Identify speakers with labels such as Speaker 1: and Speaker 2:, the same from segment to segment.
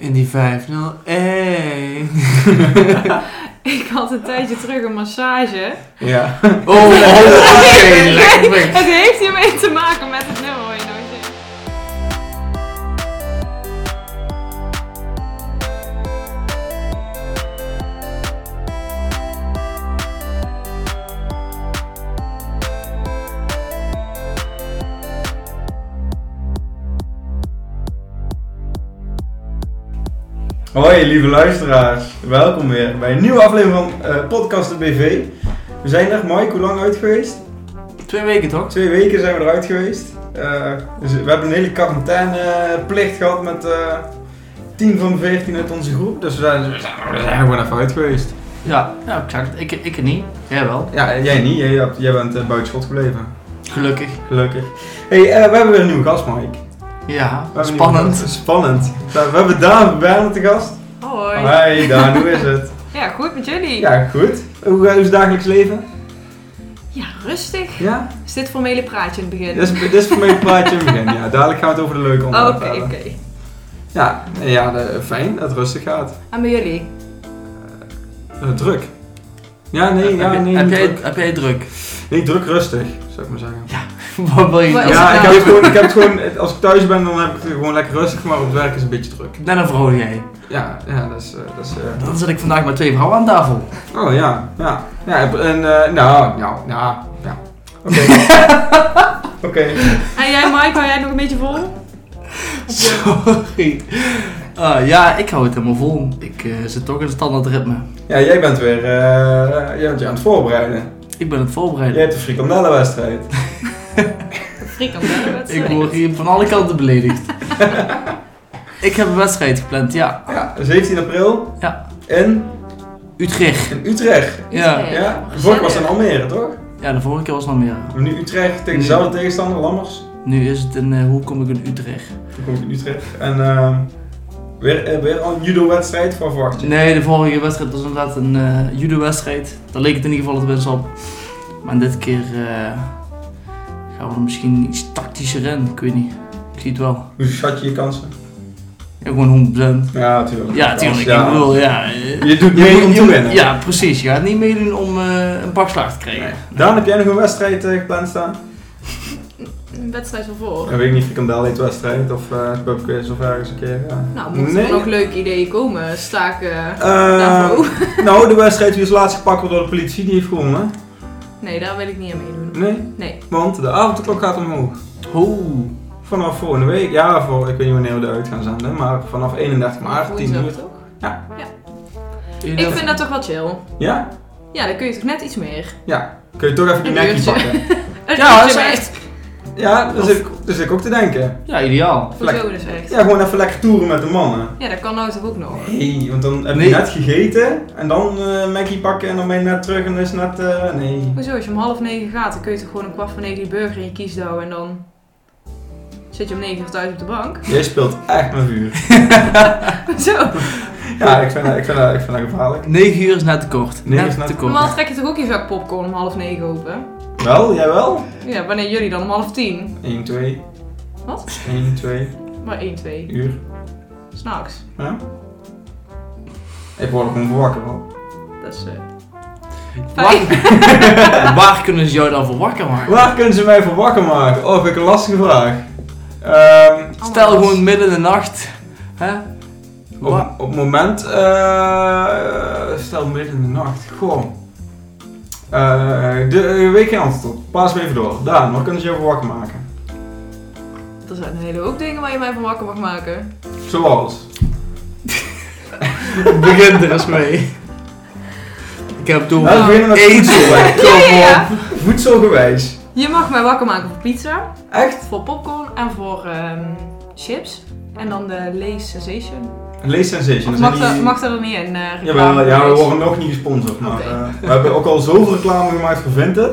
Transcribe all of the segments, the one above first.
Speaker 1: En die nou, 501.
Speaker 2: Ik had een tijdje terug een massage.
Speaker 1: ja. Oh, oh oké. lekker.
Speaker 2: Het heeft hiermee te maken met het nummer waar je nooit zegt.
Speaker 3: Hoi lieve luisteraars, welkom weer bij een nieuwe aflevering van eh, Podcast de BV. We zijn er, Mike, hoe lang uit geweest?
Speaker 1: Twee weken toch?
Speaker 3: Twee weken zijn we eruit geweest. Eh, dus we hebben een hele quarantaineplicht gehad met eh 10 van de 14 uit onze groep. Dus we zijn, we zijn, we zijn er gewoon even uit geweest.
Speaker 1: Ja, ja exact. Ik, ik het niet. Jij wel.
Speaker 3: Ja, en jij niet, jij, hebt- jij bent eh, buiten schot gebleven.
Speaker 1: Gelukkig.
Speaker 3: Gelukkig. hey, eh, we hebben weer een nieuwe gast, Mike. We
Speaker 1: Ja,
Speaker 3: hebben een nieuwe
Speaker 1: spannend.
Speaker 3: gast. Spannend. Nou, We hebben Daan Bernhard te gast.
Speaker 2: Hoi.
Speaker 3: Hoi Daan, hoe is het?
Speaker 2: Ja, goed met jullie.
Speaker 3: Ja, goed. Hoe eh, hoe is het dagelijks leven?
Speaker 2: Ja, rustig.
Speaker 3: Ja?
Speaker 2: Is dit formele praatje in het begin?
Speaker 3: Dit is, dit is voor mij een plaatje in het begin. Ja, dadelijk gaan we het over de leuke
Speaker 2: Oké,
Speaker 3: onderwerpen
Speaker 2: Oh, oké.
Speaker 3: hebben. Ja, nee, ja de- fijn dat het rustig gaat.
Speaker 2: En bij jullie?
Speaker 3: Eh, druk. Ja, nee, ja,
Speaker 1: heb,
Speaker 3: nee.
Speaker 1: heb,
Speaker 3: niet
Speaker 1: jij,
Speaker 3: druk.
Speaker 1: heb jij druk?
Speaker 3: Nee, druk rustig, zou ik maar zeggen.
Speaker 1: Wat wil je
Speaker 2: Wat is
Speaker 1: nou?
Speaker 3: Ja,
Speaker 2: het
Speaker 3: ik
Speaker 2: nou?
Speaker 3: heb, het gewoon, ik heb het gewoon, als ik thuis ben, dan heb ik het gewoon lekker rustig, maar op het werk is het een beetje druk.
Speaker 1: Ik ben een vrouw jij.
Speaker 3: Ja, ja, dat is... eh, dat is eh,
Speaker 1: Dan zit ik vandaag met twee vrouwen aan tafel.
Speaker 3: oh, ja, ja. Ja, en, eh, nou, nou, nou, ja. Oké. Oké.
Speaker 2: En jij, Mike, hou jij het nog een beetje vol?
Speaker 1: Sorry. Ah, ja, ik hou het helemaal vol. Ik eh, zit toch in een standaard ritme.
Speaker 3: Ja, jij bent weer, eh, jij bent je aan het voorbereiden.
Speaker 1: Ik ben het
Speaker 3: Jij
Speaker 1: voorbereiden.
Speaker 3: hebt de frikandellenwedstrijd.
Speaker 2: Frikandel.
Speaker 1: Ik word hier van alle kanten beledigd. ik heb een wedstrijd gepland, ja.
Speaker 3: Ja, 17 april.
Speaker 1: Ja.
Speaker 3: In,
Speaker 1: Utrecht.
Speaker 3: in Utrecht.
Speaker 1: Ja.
Speaker 3: Ja, vorig was het in Almere, toch?
Speaker 1: Ja, de vorige keer was nog meer.
Speaker 3: Maar nu Utrecht tegen
Speaker 1: Nu.
Speaker 3: dezelfde tegenstander, Lammers.
Speaker 1: Nu is het een eh, hoe kom ik in Utrecht?
Speaker 3: Toen kom ik in Utrecht. En ehm, weer, eh, weer al een judo-wedstrijd van verwacht je?
Speaker 1: Nee, de vorige wedstrijd was inderdaad een eh judo-wedstrijd. Daar leek het in ieder geval het best op. Maar dit keer eh, gaan we er misschien iets tactischer in. Ik weet niet. Ik zie het wel.
Speaker 3: Hoe schat je je kansen?
Speaker 1: Ja, gewoon 100%.
Speaker 3: Ja, natuurlijk.
Speaker 1: Ja, tuurlijk.
Speaker 3: Ja.
Speaker 1: Ik bedoel, ja. eh,
Speaker 3: Je doet
Speaker 1: Je
Speaker 3: mee
Speaker 1: moet-
Speaker 3: om
Speaker 1: je
Speaker 3: te
Speaker 1: moet-
Speaker 3: winnen.
Speaker 1: Ja, precies. Je gaat niet meedoen om eh, een pak slaag te krijgen.
Speaker 3: Nee. Daan, heb jij nog een wedstrijd eh, gepland staan?
Speaker 2: Een wedstrijd van voor.
Speaker 3: Ja, weet ik niet, frikandel eet wedstrijd of eh pubquiz of ergens een keer. Ja.
Speaker 2: Nou, moeten er nog leuke ideeën komen? Staken
Speaker 3: Eh,
Speaker 2: daarvoor?
Speaker 3: nou, de wedstrijd die is laatst gepakt wordt door de politie, die heeft gewonnen.
Speaker 2: Nee, daar wil ik niet aan meedoen.
Speaker 3: Nee,
Speaker 2: Nee.
Speaker 3: want de avondklok gaat omhoog.
Speaker 1: Oeh.
Speaker 3: Vanaf volgende week, ja, voor, ik weet niet wanneer we eruit gaan zenden, maar vanaf 31 maart, 10
Speaker 2: Woensdag
Speaker 3: uur.
Speaker 2: toch?
Speaker 1: Jullie
Speaker 2: Ik
Speaker 1: dat-
Speaker 2: vind dat toch wel chill.
Speaker 3: Ja?
Speaker 2: Ja, dan kun je toch net iets meer.
Speaker 3: Ja. Kun je toch even die
Speaker 2: Een
Speaker 3: nekje
Speaker 2: uurtje.
Speaker 3: pakken?
Speaker 2: Een
Speaker 1: Ja,
Speaker 2: uurtje
Speaker 1: dat is
Speaker 2: bij-
Speaker 3: Ja, daar zit, ik- daar zit ik ook te denken.
Speaker 1: Ja, ideaal.
Speaker 2: Hoezo dus echt?
Speaker 3: Ja, gewoon even lekker toeren met de mannen.
Speaker 2: Ja, dat kan nou toch ook nog?
Speaker 3: Nee, want dan heb je
Speaker 1: Nee.
Speaker 3: net gegeten en dan eh Mackie pakken en dan ben je net terug en is net... eh, nee.
Speaker 2: Hoezo, als je om half negen gaat, dan kun je toch gewoon een kwart van negen die burger in je kies douwen en dan zit je om negen uur thuis op de bank?
Speaker 3: Jij speelt echt met vuur.
Speaker 2: Zo,
Speaker 3: Ja, ik vind dat, ik vind dat, ik vind dat gevaarlijk.
Speaker 1: 9 uur is net te kort.
Speaker 3: Negen is net te
Speaker 2: normaal trek je toch ook je zak popcorn om half negen open?
Speaker 3: Wel, jij wel?
Speaker 2: Ja, wanneer jullie dan om half tien?
Speaker 3: 1, 2.
Speaker 2: Wat?
Speaker 3: 1, 2
Speaker 2: Maar één, twee.
Speaker 3: uur.
Speaker 2: S'nachts.
Speaker 3: Ja? Ik word er gewoon wakker hoor.
Speaker 2: Dat is... eh,
Speaker 1: Waar, waar kunnen ze jou dan voor wakker maken?
Speaker 3: Waar kunnen ze mij voor wakker maken? Oh, vind ik een lastige vraag. Ehm,
Speaker 2: Oh
Speaker 1: Stel gewoon midden in de nacht. Hè?
Speaker 3: Op,
Speaker 1: Wa-
Speaker 3: op het moment, eh, stel midden in de nacht, gewoon. Eh de eh, week geen antwoord op. Paas me even door. Daan, wat kunnen ze je voor wakker maken?
Speaker 2: Er zijn een hele hoop dingen waar je mij van wakker mag maken.
Speaker 3: Zoals.
Speaker 1: Begin er eens mee. Ik heb toen
Speaker 3: Nou, we beginnen met
Speaker 1: eten.
Speaker 3: voedsel. hè.
Speaker 2: Ja, ja, ja.
Speaker 3: Kom op. Voedselgewijs.
Speaker 2: Je mag mij wakker maken voor pizza,
Speaker 3: Echt?
Speaker 2: voor popcorn en voor ehm, chips. En dan de Lay's Sensation.
Speaker 3: Lees Sensation.
Speaker 2: Of
Speaker 3: dat
Speaker 2: mag,
Speaker 3: zijn
Speaker 2: dat,
Speaker 3: die-
Speaker 2: mag dat er niet in? eh,
Speaker 3: Jawel, ja, we
Speaker 2: reclame?
Speaker 3: worden nog niet gesponsord, maar
Speaker 2: Oké.
Speaker 3: eh, we hebben ook al zoveel reclame gemaakt voor Vinted.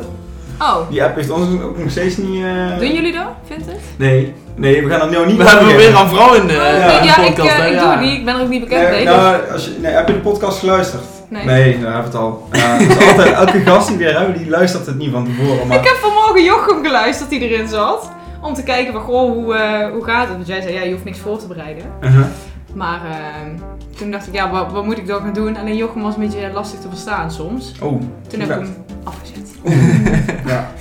Speaker 2: Oh,
Speaker 3: Die app heeft ons ook nog steeds niet... eh,
Speaker 2: doen jullie dat, vindt het?
Speaker 3: Nee, nee, we gaan dat nu niet
Speaker 1: We hebben
Speaker 3: meer
Speaker 1: weer een vrouw in de,
Speaker 2: ja,
Speaker 1: in de
Speaker 2: ik,
Speaker 1: podcast.
Speaker 2: eh,
Speaker 1: hè?
Speaker 2: ik
Speaker 1: Ja.
Speaker 2: doe die. Ik ben er ook niet bekend mee.
Speaker 3: Nee,
Speaker 2: dus-
Speaker 3: nou, als je, nee, heb je de podcast geluisterd?
Speaker 2: nee.
Speaker 3: Nee, daar hebben we het al. Ja, dus altijd, elke gast die we weer hebben, die luistert het niet van tevoren.
Speaker 2: Ik
Speaker 3: Maar
Speaker 2: heb vanmorgen Jochem geluisterd die erin zat. Om te kijken van, goh, hoe, eh, hoe gaat het? Want jij zei, ja, je hoeft niks voor te bereiden.
Speaker 3: Uh-huh.
Speaker 2: Maar eh, toen dacht ik, ja, wat, wat moet ik dan gaan doen? Alleen Jochem was een beetje lastig te verstaan soms.
Speaker 3: Oh,
Speaker 2: Toen heb
Speaker 3: Ja.
Speaker 2: ik hem afgezet.
Speaker 3: ja.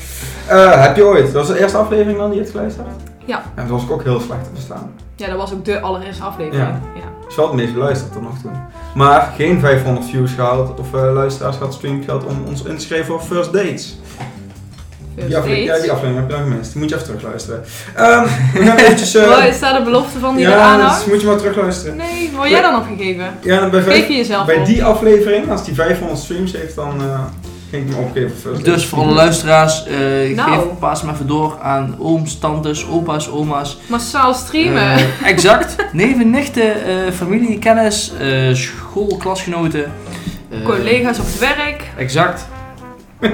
Speaker 3: Eh, heb je ooit, dat was de eerste aflevering dan die je hebt geluisterd?
Speaker 2: Ja.
Speaker 3: En toen was ik ook heel slecht te verstaan.
Speaker 2: Ja, dat was ook de allereerste aflevering. Ja.
Speaker 3: Dus wel het meest geluisterd tot nog toe. Maar geen 500 views gehaald of eh, luisteraars gehad, streams gehad om ons inschrijven voor First Dates.
Speaker 2: First
Speaker 3: Die aflevering, ja,
Speaker 2: date.
Speaker 3: die aflevering heb je nog gemist. Die moet je even terugluisteren. Ehm, we gaan eventjes... eh,
Speaker 2: Wel, is daar de belofte van die
Speaker 3: ja,
Speaker 2: eraan
Speaker 3: dus
Speaker 2: hangt?
Speaker 3: moet je maar terugluisteren.
Speaker 2: Nee, wat jij dan opgegeven?
Speaker 3: Ja, bij,
Speaker 2: Geef
Speaker 3: vijf-
Speaker 2: je jezelf
Speaker 3: bij
Speaker 2: op.
Speaker 3: die aflevering, als die 500 streams heeft, dan eh, ging ik hem opgeven voor First
Speaker 1: Dus voor alle luisteraars, eh
Speaker 2: Nou.
Speaker 1: geef pas maar even door aan ooms, tantes, opa's, oma's.
Speaker 2: Massaal streamen.
Speaker 1: Eh, exact. Neven, nichten, eh, familie, kennis, eh, school, klasgenoten. eh,
Speaker 2: Collega's op het werk.
Speaker 1: Exact.
Speaker 2: Dit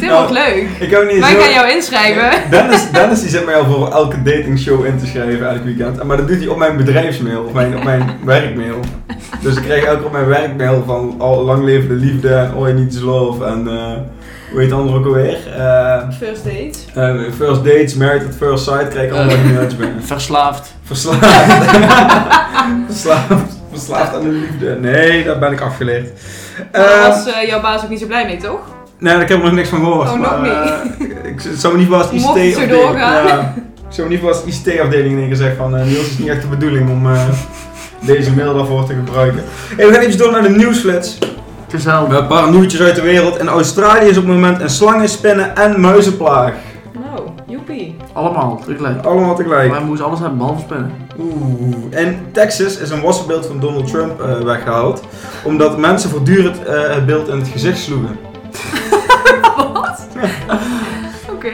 Speaker 3: Nou,
Speaker 2: wordt leuk.
Speaker 3: Ik heb niet
Speaker 2: Wij
Speaker 3: zo-
Speaker 2: gaan jou inschrijven.
Speaker 3: Dennis, Dennis die zet mij al voor elke datingshow in te schrijven elk weekend. Maar dat doet hij op mijn bedrijfsmail, op mijn, op mijn werkmail. Dus ik krijg elke keer op mijn werkmail van al lang levende liefde en ooit niet is love en eh, hoe heet het andere ook alweer? Eh,
Speaker 2: First date.
Speaker 3: eh, first dates, married at first sight, krijg ik allemaal
Speaker 1: Eh.
Speaker 3: die mails binnen.
Speaker 1: Verslaafd.
Speaker 3: Verslaafd. verslaafd. Verslaafd aan de liefde. Nee, daar ben ik afgeleerd.
Speaker 2: Daar
Speaker 3: Eh,
Speaker 2: was eh, jouw baas ook niet zo blij mee, toch?
Speaker 3: Nee, daar heb ik nog niks van gehoord.
Speaker 2: Oh, nog
Speaker 3: maar,
Speaker 2: niet.
Speaker 3: eh, ik zou me niet verbaasd
Speaker 2: Mocht het zo
Speaker 3: IT-afdeling.
Speaker 2: doorgaan.
Speaker 3: Ja, ik zou me niet verbaasd IT-afdeling in één keer zeggen van eh Niels het is niet echt de bedoeling om eh, deze mail daarvoor te gebruiken. Hey, we gaan even door naar de nieuwsflits. We
Speaker 1: Gezellig.
Speaker 3: hebben een paar nieuwtjes uit de wereld. In Australië is op het moment een slangen, spinnen en muizenplaag.
Speaker 2: Nou, joepie.
Speaker 1: Allemaal, tegelijk.
Speaker 3: Allemaal tegelijk.
Speaker 1: Wij moesten alles hebben behalve spinnen.
Speaker 3: Oeh. In Texas is een wassenbeeld van Donald Trump eh, weggehaald. Omdat mensen voortdurend eh, het beeld in het gezicht sloegen.
Speaker 2: Oké.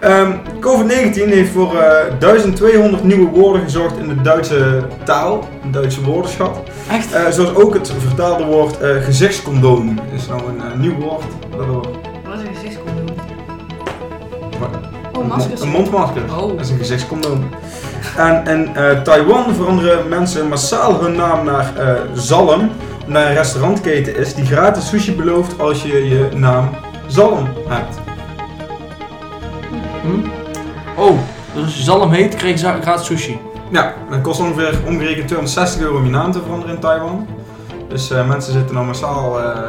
Speaker 3: Ehm, COVID-19 heeft voor eh, 1200 nieuwe woorden gezorgd in de Duitse taal, een Duitse woordenschat.
Speaker 1: Echt?
Speaker 3: Eh, zoals ook het vertaalde woord eh, gezichtscondoom is nou een eh, nieuw woord. Dat wordt-
Speaker 2: Wat is een gezichtscondoom?
Speaker 3: wat-
Speaker 2: Oh, maskers.
Speaker 3: Eh, Een mondmasker.
Speaker 2: Oh.
Speaker 3: Dat is een gezichtscondoom. En in eh, Taiwan veranderen mensen massaal hun naam naar eh, Zalm, naar een restaurantketen is die gratis sushi belooft als je je naam Zalm hebt.
Speaker 1: Hm? Oh, dus als je zalm heet, kreeg je gratis sushi.
Speaker 3: Ja, dat kost ongeveer omgerekend 260 euro om je naam te veranderen in Taiwan. Dus eh, mensen zitten nou massaal eh, eh,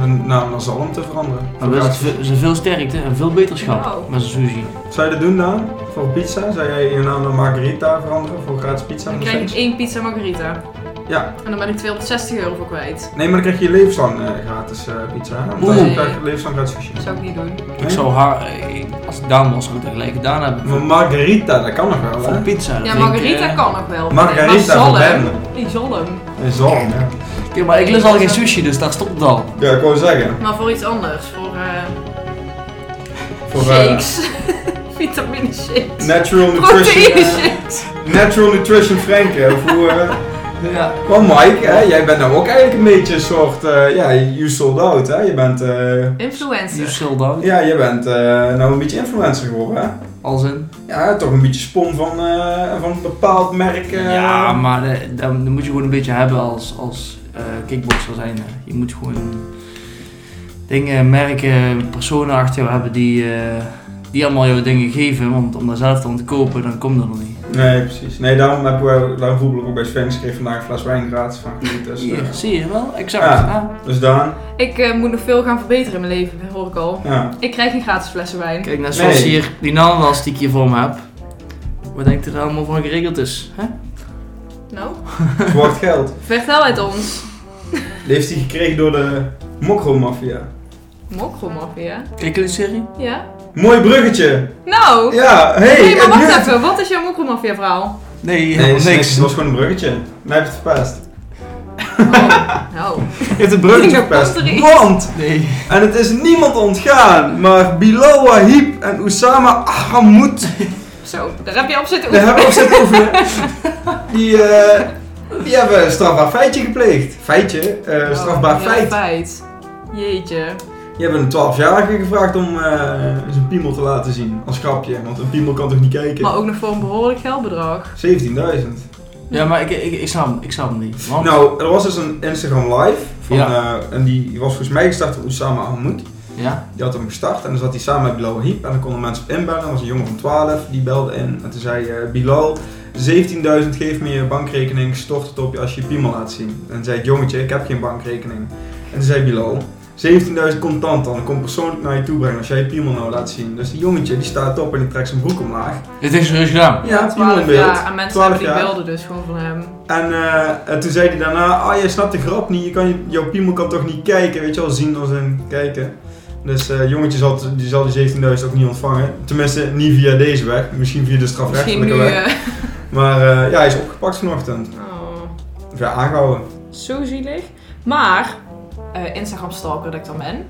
Speaker 3: hun naam naar Zalm te veranderen.
Speaker 1: Maar dat is ve- is een veel sterkte en veel beterschap
Speaker 2: Wauw.
Speaker 1: met zijn sushi.
Speaker 3: Zou je dat doen dan? Voor pizza? Zou jij je naam naar Margarita veranderen voor gratis pizza?
Speaker 2: Dan
Speaker 3: en
Speaker 2: krijg ik
Speaker 3: steaks?
Speaker 2: één pizza margarita.
Speaker 3: Ja.
Speaker 2: En dan ben ik 260 euro voor kwijt.
Speaker 3: Nee, maar dan krijg je levenslang eh, gratis eh, pizza. hè? Want
Speaker 1: Oeh.
Speaker 3: dan krijg je levenslang gratis sushi.
Speaker 2: Dat zou ik niet doen.
Speaker 1: Ik zou haar, eh, als ik daan was, zou ik dat gelijk gedaan hebben.
Speaker 3: Maar Margarita, dat kan nog wel
Speaker 1: Voor
Speaker 3: hè?
Speaker 1: pizza. dat
Speaker 2: Ja,
Speaker 1: vind ik,
Speaker 2: margarita
Speaker 1: eh,
Speaker 2: kan nog wel.
Speaker 3: Margarita
Speaker 2: Maar
Speaker 3: van
Speaker 2: zalm.
Speaker 3: Bern.
Speaker 2: Die zalm.
Speaker 3: In Zalm, ja.
Speaker 1: Ja, maar ik lust al geen sushi, dus daar stopt het al.
Speaker 3: Ja, ik wou zeggen.
Speaker 2: Maar voor iets anders. Voor, eh,
Speaker 3: Voor eh,
Speaker 2: shakes. Vitamine shakes.
Speaker 3: Natural Nutrition.
Speaker 2: Proteïne
Speaker 3: eh,
Speaker 2: shakes.
Speaker 3: natural Nutrition Frank, hè? Of hoe, eh,
Speaker 1: Ja.
Speaker 3: Wel Mike, hè? jij bent nou ook eigenlijk een beetje een soort, eh, ja, you sold out, hè? Je bent, eh,
Speaker 1: You
Speaker 2: Influencer.
Speaker 1: sold out.
Speaker 3: ja, jij bent eh, nou een beetje influencer geworden, hè?
Speaker 1: Als in.
Speaker 3: Ja, toch een beetje spon van, eh, van een bepaald merk. eh.
Speaker 1: Ja, maar eh, dan, dan moet je gewoon een beetje hebben als, als eh, kickboxer zijn. Je moet gewoon dingen, merken, personen achter jou hebben die, eh, die allemaal jouw dingen geven. Want om daar zelf dan te kopen, dan komt dat nog niet.
Speaker 3: Nee, precies. Nee, daarom heb we, daarom voel ik ook bij Sven schreef vandaag een fles wijn gratis van Geniet, dus, eh,
Speaker 1: Hier, zie je wel? Exact.
Speaker 3: Ja.
Speaker 1: Ah,
Speaker 3: dus Daan,
Speaker 2: Ik eh, moet nog veel gaan verbeteren in mijn leven, hoor ik al.
Speaker 3: ja.
Speaker 2: Ik krijg geen gratis flessen wijn.
Speaker 1: Ah, Kijk, net zoals
Speaker 3: Nee.
Speaker 1: hier, die nananas die ik hier voor me heb. Wat denk je er allemaal van geregeld is? Hè?
Speaker 2: Nou,
Speaker 3: Zwart geld.
Speaker 2: vertel het ons.
Speaker 3: Die heeft hij gekregen door de Mokro-maffia.
Speaker 2: Mokromafia.
Speaker 1: Kijk jullie die serie?
Speaker 2: Ja?
Speaker 3: Mooi bruggetje!
Speaker 2: Nou!
Speaker 3: Ja, hey,
Speaker 2: nee, maar
Speaker 3: het
Speaker 2: wacht
Speaker 3: nu-
Speaker 2: even. Wat is jouw mokromafia verhaal?
Speaker 1: Nee,
Speaker 3: Nee,
Speaker 1: helemaal
Speaker 3: het is niks.
Speaker 1: niks.
Speaker 3: Het was gewoon een bruggetje. Mij heeft het verpest.
Speaker 2: Oh, nou.
Speaker 3: Hij heeft het
Speaker 2: Ik
Speaker 3: bruggetje
Speaker 2: denk dat
Speaker 3: verpest.
Speaker 2: komt er iets.
Speaker 3: Want
Speaker 1: Nee.
Speaker 3: En het is niemand ontgaan, maar Bilal Wahib en Osama Ahmad,
Speaker 2: Zo, daar heb je op zitten
Speaker 3: daar hebben
Speaker 2: oefenen.
Speaker 3: we op zitten oefenen, die, eh, die hebben een strafbaar feitje gepleegd. Feitje? Eh, strafbaar
Speaker 2: Oh, ja,
Speaker 3: feit.
Speaker 2: feit. Jeetje.
Speaker 3: Die hebben een 12-jarige gevraagd om eh, zijn piemel te laten zien, als grapje, want een piemel kan toch niet kijken?
Speaker 2: Maar ook nog voor een behoorlijk geldbedrag.
Speaker 3: 17.000.
Speaker 1: Ja, maar ik, ik, ik snap hem, ik snap hem niet. Want-
Speaker 3: Nou, er was dus een Instagram live, van,
Speaker 1: Oh. Ja.
Speaker 3: eh, en die was volgens mij gestart door Osama Ahmad.
Speaker 1: Ja?
Speaker 3: Die had hem gestart en dan zat hij samen met Bilal Hiep en dan konden mensen op inbellen. Er was een jongen van 12 die belde in en toen zei eh, Bilal, 17.000 geef me je bankrekening, stort het op je als je je piemel laat zien. En zei ik, jongetje, ik heb geen bankrekening. En toen zei Bilal, 17.000 contant dan, ik kom persoonlijk naar je toe brengen als jij je piemel nou laat zien. Dus die jongetje, die staat op en die trekt zijn broek omlaag.
Speaker 1: Dit is serieus gedaan.
Speaker 3: Ja, piemel in
Speaker 2: 12
Speaker 3: beeld.
Speaker 2: jaar. En mensen
Speaker 3: 12
Speaker 2: hebben die
Speaker 3: jaar.
Speaker 2: beelden dus gewoon van hem.
Speaker 3: En eh, en toen zei hij daarna, ah, jij snapt de grap niet, je kan, je- jouw piemel kan toch niet kijken, weet je wel, zien als een kijken. Dus eh jongetje zal, die zal die 17.000 ook niet ontvangen. Tenminste, niet via deze weg, misschien via de
Speaker 2: Misschien nu.
Speaker 3: strafrechtelijke weg.
Speaker 2: eh,
Speaker 3: Maar eh, ja, hij is opgepakt vanochtend.
Speaker 2: oh,
Speaker 3: Of ja, aangehouden.
Speaker 2: zo zielig. Maar, eh, Instagram stalker dat ik dan ben.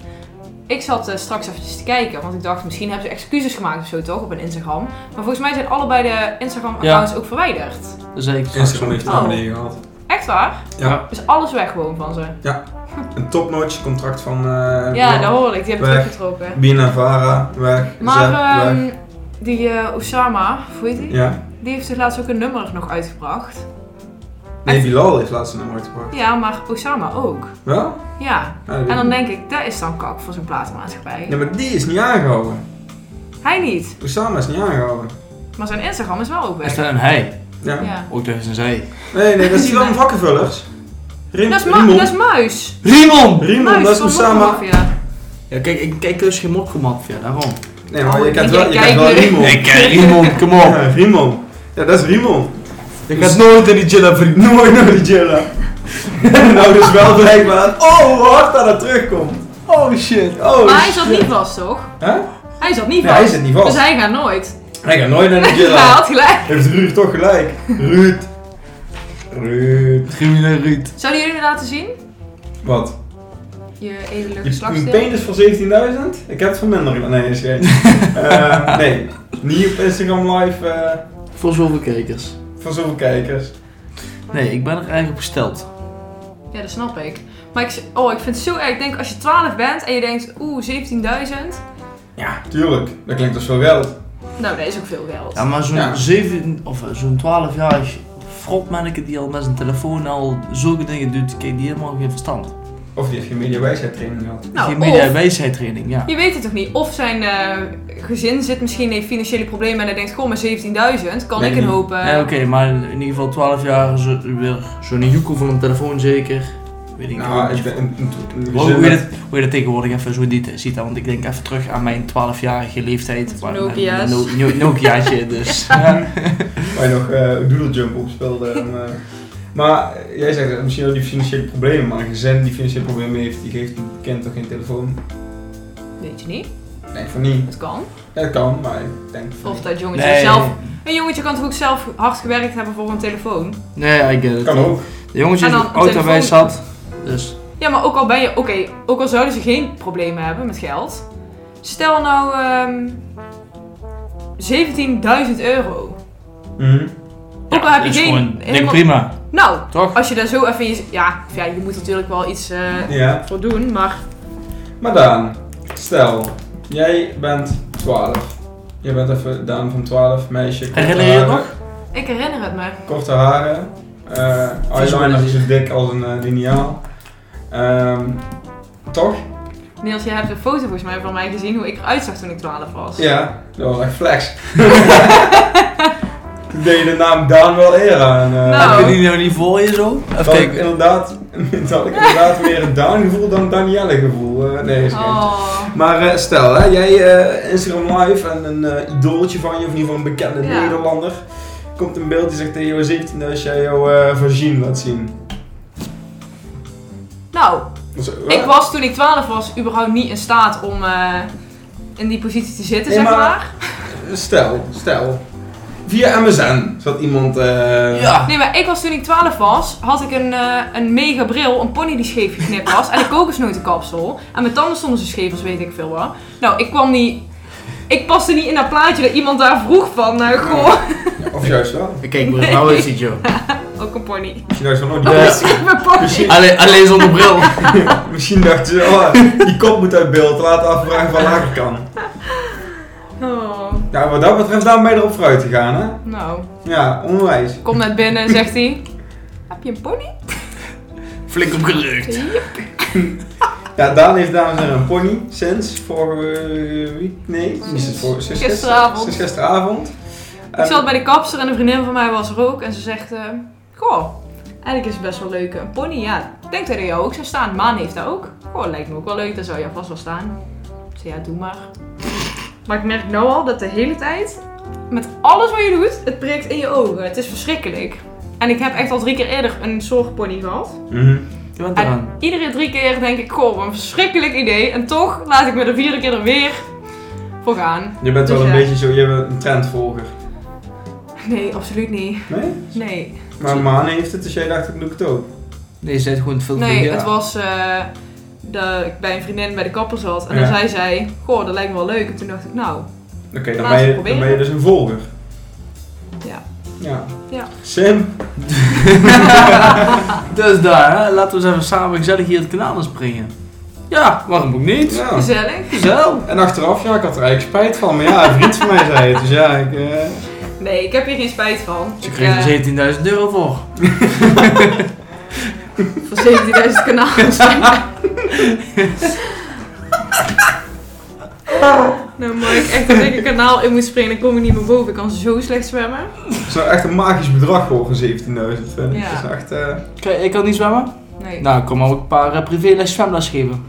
Speaker 2: Ik zat eh, straks eventjes te kijken, want ik dacht misschien hebben ze excuses gemaakt of zo toch op een Instagram. Maar volgens mij zijn allebei de Instagram-accounts ook verwijderd.
Speaker 1: Dat zei ik straks
Speaker 3: Instagram
Speaker 1: ook.
Speaker 3: heeft het
Speaker 2: Oh.
Speaker 3: naar beneden gehaald.
Speaker 2: Echt waar?
Speaker 3: Ja.
Speaker 2: Is alles weg gewoon van ze?
Speaker 3: Een topnotch contract van eh
Speaker 2: ja, dat hoor ik. Die hebben
Speaker 3: Weg.
Speaker 2: teruggetrokken.
Speaker 3: Bina Vara, weg.
Speaker 2: Maar
Speaker 3: Zep, weg.
Speaker 2: ehm, die eh, Osama, hoe heet die?
Speaker 3: Ja.
Speaker 2: Die heeft dus laatst ook een nummer nog uitgebracht.
Speaker 3: Nee,
Speaker 2: echt?
Speaker 3: Bilal heeft laatst een nummer uitgepakt.
Speaker 2: Ja, maar Osama ook.
Speaker 3: Wel?
Speaker 2: Ja.
Speaker 3: Ja, dat weet
Speaker 2: En dan
Speaker 3: ik
Speaker 2: denk ik, dat is dan kak voor zo'n platenmaatschappij.
Speaker 3: niet. Ja, maar die is niet aangehouden.
Speaker 2: Hij niet.
Speaker 3: Osama is niet aangehouden.
Speaker 2: Maar zijn Instagram is wel ook
Speaker 1: Is
Speaker 2: weg.
Speaker 1: dat een hij?
Speaker 3: Ja.
Speaker 2: Ja.
Speaker 1: Ook dat is een zij.
Speaker 3: Nee, nee, dat is die van vakkenvullers. Rim,
Speaker 2: Dat is, ma-
Speaker 3: Riemon.
Speaker 2: dat is Muis.
Speaker 1: Riemon!
Speaker 3: Riemon,
Speaker 2: muis
Speaker 3: dat is
Speaker 2: van
Speaker 3: Osama.
Speaker 2: Mokkelmafia.
Speaker 1: Ja, kijk, ik kijk dus geen mokkelmap, ja, daarom.
Speaker 3: Nee, maar
Speaker 2: Oh,
Speaker 3: je kent
Speaker 2: ik
Speaker 3: wel, je
Speaker 2: kijk
Speaker 3: kent wel
Speaker 2: nu.
Speaker 3: Riemon.
Speaker 1: Ik ken Riemon, kom op.
Speaker 3: Ja, Riemon. Ja, dat is Riemon.
Speaker 1: Je gaat nooit in die chillen vriend.
Speaker 3: Nooit naar die Jilla. nou, dus wel blijkbaar. Oh, hoe hard dat dat terugkomt.
Speaker 1: Oh shit.
Speaker 3: Oh,
Speaker 2: Maar hij zat
Speaker 3: shit.
Speaker 2: niet vast, toch?
Speaker 3: Hè?
Speaker 2: Hij zat niet
Speaker 3: Nee,
Speaker 2: vast.
Speaker 3: hij zit niet vast.
Speaker 2: Dus hij gaat nooit.
Speaker 3: Hij gaat nooit naar de
Speaker 2: Hij
Speaker 3: Jilla.
Speaker 2: had gelijk.
Speaker 3: Heeft Ruud toch gelijk? Ruud. Ruud.
Speaker 1: Crimineel Ruud.
Speaker 2: Zouden jullie me laten zien?
Speaker 3: Wat?
Speaker 2: Je edele
Speaker 3: Je een
Speaker 2: geslachtsdeel?
Speaker 3: penis voor 17.000? Ik heb het voor minder. gedaan. Nee, is geen. Eh, nee, niet op Instagram live eh,
Speaker 1: Voor zoveel kijkers.
Speaker 3: voor zoveel kijkers.
Speaker 1: Nee, ik ben er eigenlijk op gesteld.
Speaker 2: Ja, dat snap ik. Maar ik, oh, ik vind het zo erg. Ik denk als je 12 bent en je denkt, oeh, 17.000.
Speaker 3: Ja, tuurlijk. Dat klinkt als veel geld.
Speaker 2: Nou, dat is ook veel geld.
Speaker 1: Ja, maar
Speaker 3: Ja.
Speaker 1: zo'n 7 of eh, zo'n 12-jarig frotmanneke die al met zijn telefoon al zulke dingen doet, kijk, die helemaal geen verstand.
Speaker 3: Of die heeft geen mediawijsheidtraining gehad.
Speaker 2: nou,
Speaker 1: geen media-
Speaker 2: of-
Speaker 1: en wijsheidtraining, ja.
Speaker 2: Je weet het toch niet. Of zijn eh, gezin zit misschien in financiële problemen en hij denkt, goh, maar 17.000, kan
Speaker 3: Nee,
Speaker 2: ik een
Speaker 3: nee.
Speaker 2: hoop... eh,
Speaker 1: Nee, Oké, maar in ieder geval 12 jaar zo, weer zo'n joekel van een telefoon zeker. Weet ik
Speaker 3: Nou,
Speaker 1: niet.
Speaker 3: ik ben een, een, een
Speaker 1: Hoe, hoe, je
Speaker 3: gezin
Speaker 1: dat, hoe je dat tegenwoordig even zo niet ziet, hè, want ik denk even terug aan mijn 12-jarige leeftijd. waar-
Speaker 2: Nokia's.
Speaker 1: No, no, Nokiaatje, dus. ja.
Speaker 3: waar je nog eh doodle jump op speelde. en, eh, maar eh, jij zegt eh, misschien wel die financiële problemen, maar een gezin die financiële problemen heeft, die geeft een kind toch geen telefoon?
Speaker 2: Weet je niet.
Speaker 3: Nee, van niet.
Speaker 2: Het kan.
Speaker 3: Ja, dat kan, maar ik denk van
Speaker 2: Of
Speaker 3: niet.
Speaker 2: dat jongetje
Speaker 1: Nee,
Speaker 2: zelf... Een jongetje kan toch ook zelf hard gewerkt hebben voor een telefoon?
Speaker 1: nee, I get it.
Speaker 3: Kan ook.
Speaker 1: De jongetje
Speaker 2: En
Speaker 1: is
Speaker 2: dan
Speaker 1: ook oud
Speaker 2: telefoon-
Speaker 1: daarbij zat, dus
Speaker 2: Ja, maar ook al ben je... Oké, ook al zouden ze geen problemen hebben met geld. Stel nou... ehm 17.000 euro.
Speaker 3: Mhm.
Speaker 2: Ook al heb je
Speaker 1: is
Speaker 2: geen...
Speaker 1: gewoon- denk
Speaker 2: helemaal-
Speaker 1: prima,
Speaker 2: Nou,
Speaker 1: toch?
Speaker 2: als je daar zo even... Je, ja, ja, je moet natuurlijk wel iets eh,
Speaker 3: Ja.
Speaker 2: voor doen, maar...
Speaker 3: Maar Daan, stel, jij bent 12. Jij bent even Daan van 12, meisje. korte
Speaker 1: Herinner je je het
Speaker 3: haren-
Speaker 2: Ik herinner het me.
Speaker 3: Korte haren. eh eyeliner is zo dik als een eh, liniaal. Ehm, toch?
Speaker 2: Niels, jij hebt een foto volgens mij van mij gezien hoe ik eruit zag toen ik 12 was.
Speaker 3: Ja, dat was echt flex. Toen deed je de naam Daan wel eer aan. eh,
Speaker 2: Nou.
Speaker 1: Heb je die nou niet voor je zo? Even
Speaker 3: dat had ik
Speaker 1: kijken.
Speaker 3: inderdaad, dat had ik inderdaad meer een Daan gevoel dan Danielle gevoel. Eh, nee, is geen.
Speaker 2: Oh.
Speaker 3: Maar eh, stel, hè, jij eh, Instagram live en een eh, idooltje van je, of in ieder geval een bekende
Speaker 2: Ja.
Speaker 3: Nederlander, komt een beeld die zegt tegen jou 17 als jij jouw eh vagina laat zien.
Speaker 2: Nou,
Speaker 3: Dus, eh,
Speaker 2: ik was toen ik 12 was überhaupt niet in staat om eh, in die positie te zitten,
Speaker 3: Nee,
Speaker 2: zeg
Speaker 3: maar-
Speaker 2: maar.
Speaker 3: Stel, stel. Via MSN zat iemand. eh,
Speaker 1: Ja.
Speaker 2: Nee, maar ik was toen ik 12 was, had ik een, eh, een mega bril, een pony die scheef geknipt was en een kokosnotenkapsel. En mijn tanden stonden zo scheef als weet ik veel wat. Nou, ik kwam niet... Ik paste niet in dat plaatje dat iemand daar vroeg van, eh, goh,
Speaker 3: Of juist wel.
Speaker 1: Kijk, maar nou is het joh.
Speaker 2: ook een pony.
Speaker 3: Misschien juist wel nooit.
Speaker 1: Ja.
Speaker 2: Mijn pony.
Speaker 3: Misschien,
Speaker 1: Alleen, alleen zonder bril.
Speaker 3: misschien dacht ze, oh, die kop moet uit beeld, laten afvragen van lager kan.
Speaker 2: Oh,
Speaker 3: Nou, wat dat betreft, daar ben je erop vooruit gegaan, hè?
Speaker 2: nou,
Speaker 3: Ja, onwijs.
Speaker 2: kom net binnen, zegt hij. Heb je een pony?
Speaker 1: Flink opgerukt.
Speaker 3: Ja, Daan heeft dames en heren een pony sinds vorige week. Nee, niet sinds vorige sinds gister-
Speaker 2: Gisteravond.
Speaker 3: Sinds gisteravond. Eh,
Speaker 2: Ik zat bij de kapster en een vriendin van mij was er ook. En ze zegt, eh, goh, eigenlijk is het best wel leuk. Een pony, ja, ik denk dat hij jou ook zou staan. Maan heeft dat ook. Goh, lijkt me ook wel leuk, daar zou je vast wel staan. Ik zei, ja, doe maar. Maar ik merk nou al dat de hele tijd, met alles wat je doet, het prikt in je ogen. Het is verschrikkelijk. En ik heb echt al drie keer eerder een zorgpony gehad.
Speaker 3: Mhm.
Speaker 1: Je bent eraan.
Speaker 2: Iedere drie keer denk ik, goh, wat een verschrikkelijk idee. En toch laat ik me de vierde keer er weer voor gaan.
Speaker 3: Je bent wel
Speaker 2: Dus
Speaker 3: een
Speaker 2: ja.
Speaker 3: beetje zo, je bent een trendvolger.
Speaker 2: Nee, absoluut niet.
Speaker 3: Nee?
Speaker 2: Nee.
Speaker 3: Maar Maan heeft het, dus jij dacht ik doe het ook.
Speaker 1: Nee, je bent gewoon veel
Speaker 2: Nee,
Speaker 1: te- ja.
Speaker 2: het was eh, dat ik bij een vriendin bij de kapper zat. En
Speaker 3: Ja.
Speaker 2: dan zei zij, goh, dat lijkt me wel leuk. En toen dacht ik, nou,
Speaker 3: Oké, dan,
Speaker 2: Laten we
Speaker 3: ben je- dan
Speaker 2: proberen.
Speaker 3: ben je dus een volger.
Speaker 2: Ja.
Speaker 3: Ja.
Speaker 2: Ja.
Speaker 3: Sim,
Speaker 1: Dus daar, hè, laten we eens even samen gezellig hier het kanaal in springen. Ja, waarom ook niet?
Speaker 3: ja.
Speaker 2: gezellig.
Speaker 1: Gezellig.
Speaker 3: En achteraf, ja, ik had er eigenlijk spijt van. Maar ja, een vriend van mij zei het. Dus ja, ik... eh,
Speaker 2: Nee, ik heb hier geen spijt van.
Speaker 1: Ze dus
Speaker 2: Ik,
Speaker 1: kreeg
Speaker 2: eh,
Speaker 1: er 17.000 euro voor. dus
Speaker 2: Voor 17.000 kanaals. nou, maar ik echt als ik een kanaal in moet springen, dan kom ik niet meer boven. Ik kan zo slecht zwemmen.
Speaker 3: Het zou echt een magisch bedrag worden, 17.000. vind ik.
Speaker 2: Ja.
Speaker 3: Dat is echt... eh
Speaker 1: Kijk, ik kan niet zwemmen?
Speaker 2: Nee.
Speaker 1: Nou, ik kan maar ook een paar eh, privéles zwemles geven.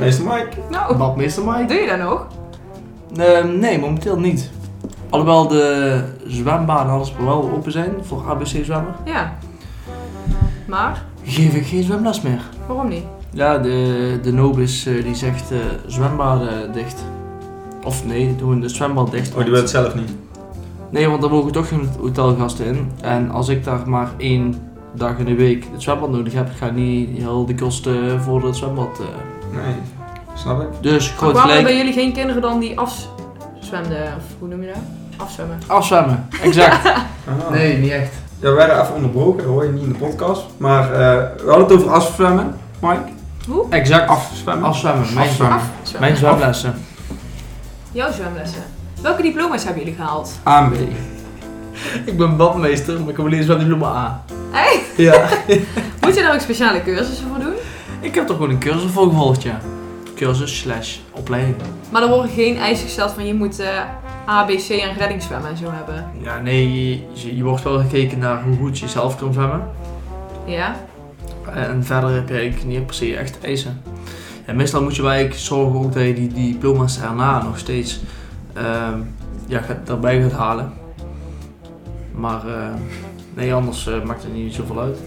Speaker 3: meester Mike.
Speaker 2: Nou,
Speaker 1: Badmeester Mike?
Speaker 2: doe je dat nog?
Speaker 1: Eh, nee, momenteel niet. Alhoewel de zwembaden en alles wel open zijn voor ABC-zwemmer,
Speaker 2: Ja. Maar,
Speaker 1: geef ik geen zwemles meer.
Speaker 2: waarom niet?
Speaker 1: Ja, de, de Nobis eh, die zegt eh, zwembaden dicht. Of nee, doen de zwembad dicht.
Speaker 3: Oh, die wil
Speaker 1: want-
Speaker 3: het zelf niet.
Speaker 1: Nee, want dan mogen toch geen hotelgasten in. En als ik daar maar één dag in de week het zwembad nodig heb, ga ik niet heel de kosten voor het zwembad. eh.
Speaker 3: Nee. Snap ik.
Speaker 1: Dus groot
Speaker 2: Waarom hebben
Speaker 1: gelijk.
Speaker 2: jullie geen kinderen dan die afzwemden? Of hoe noem je dat? Afzwemmen.
Speaker 1: Afzwemmen, exact.
Speaker 3: Ah.
Speaker 1: niet echt.
Speaker 3: Ja, we werden even onderbroken. Dat hoor je niet in de podcast. Maar eh, we hadden het over afzwemmen, Mike.
Speaker 1: Exact.
Speaker 3: Afzwemmen.
Speaker 1: Afzwemmen, mijn,
Speaker 3: Afzwemmen.
Speaker 2: Afzwemmen.
Speaker 1: mijn zwemlessen.
Speaker 2: Jouw zwemlessen. Welke diploma's hebben jullie gehaald?
Speaker 3: AMB.
Speaker 1: Ik ben badmeester, maar ik heb alleen zwemdiploma A.
Speaker 2: Hey,
Speaker 1: Ja.
Speaker 2: moet je daar ook speciale cursussen voor doen?
Speaker 1: ik heb toch gewoon een cursus voor gevolgd, ja. Cursus slash opleiding.
Speaker 2: Maar er worden geen eisen gesteld van je moet eh, A, B, C en reddingszwemmen en zo hebben.
Speaker 1: Ja, nee, je, je wordt wel gekeken naar hoe goed je zelf kan zwemmen.
Speaker 2: Ja?
Speaker 1: En verder heb je eigenlijk niet per se echt eisen. En meestal moet je wel eigenlijk zorgen ook dat je die diploma's daarna nog steeds ehm ja, gaat, erbij gaat halen. Maar eh, nee, anders eh, maakt het niet zoveel uit.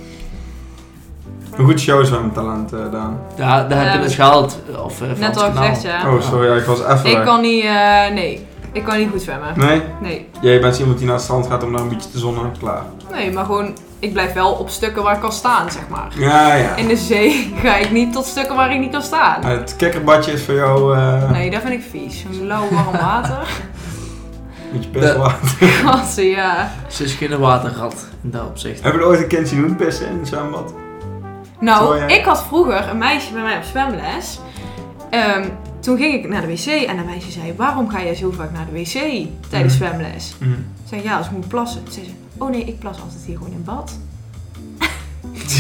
Speaker 3: Hoe goed is jouw zwemtalent, eh Daan?
Speaker 1: Ja, daar heb
Speaker 2: Ehm,
Speaker 1: je dus gehaald. Of, eh, van
Speaker 2: Net
Speaker 1: het
Speaker 2: al
Speaker 1: kanaal.
Speaker 2: gezegd, ja.
Speaker 3: Oh, sorry, ja, ik was even
Speaker 2: Ik
Speaker 3: weg.
Speaker 2: kan niet, eh, nee. Ik kan niet goed zwemmen.
Speaker 3: Nee?
Speaker 2: Nee.
Speaker 3: Jij bent iemand die naar het strand gaat om daar een beetje te zonnen. Klaar.
Speaker 2: Nee, maar gewoon, ik blijf wel op stukken waar ik kan staan, zeg maar.
Speaker 3: Ja, ja.
Speaker 2: In de zee ga ik niet tot stukken waar ik niet kan staan.
Speaker 3: Het kikkerbadje is voor jou... eh
Speaker 2: Nee, dat vind ik vies. Een lauw warm water.
Speaker 3: Moet je pissen
Speaker 1: De-
Speaker 3: laten.
Speaker 2: Gasten, ja.
Speaker 1: Ze is geen waterrat in dat opzicht.
Speaker 3: Heb je er ooit een kindje doen pissen in het zwembad?
Speaker 2: Nou,
Speaker 3: Terwijl jij-
Speaker 2: ik had vroeger een meisje bij mij op zwemles. Ehm, toen ging ik naar de wc en dat meisje zei: Waarom ga jij zo vaak naar de wc tijdens
Speaker 3: Mhm.
Speaker 2: zwemles? Ik zei: Ja, als ik moet plassen. Toen zei ze: Oh nee, ik plas altijd hier gewoon in bad.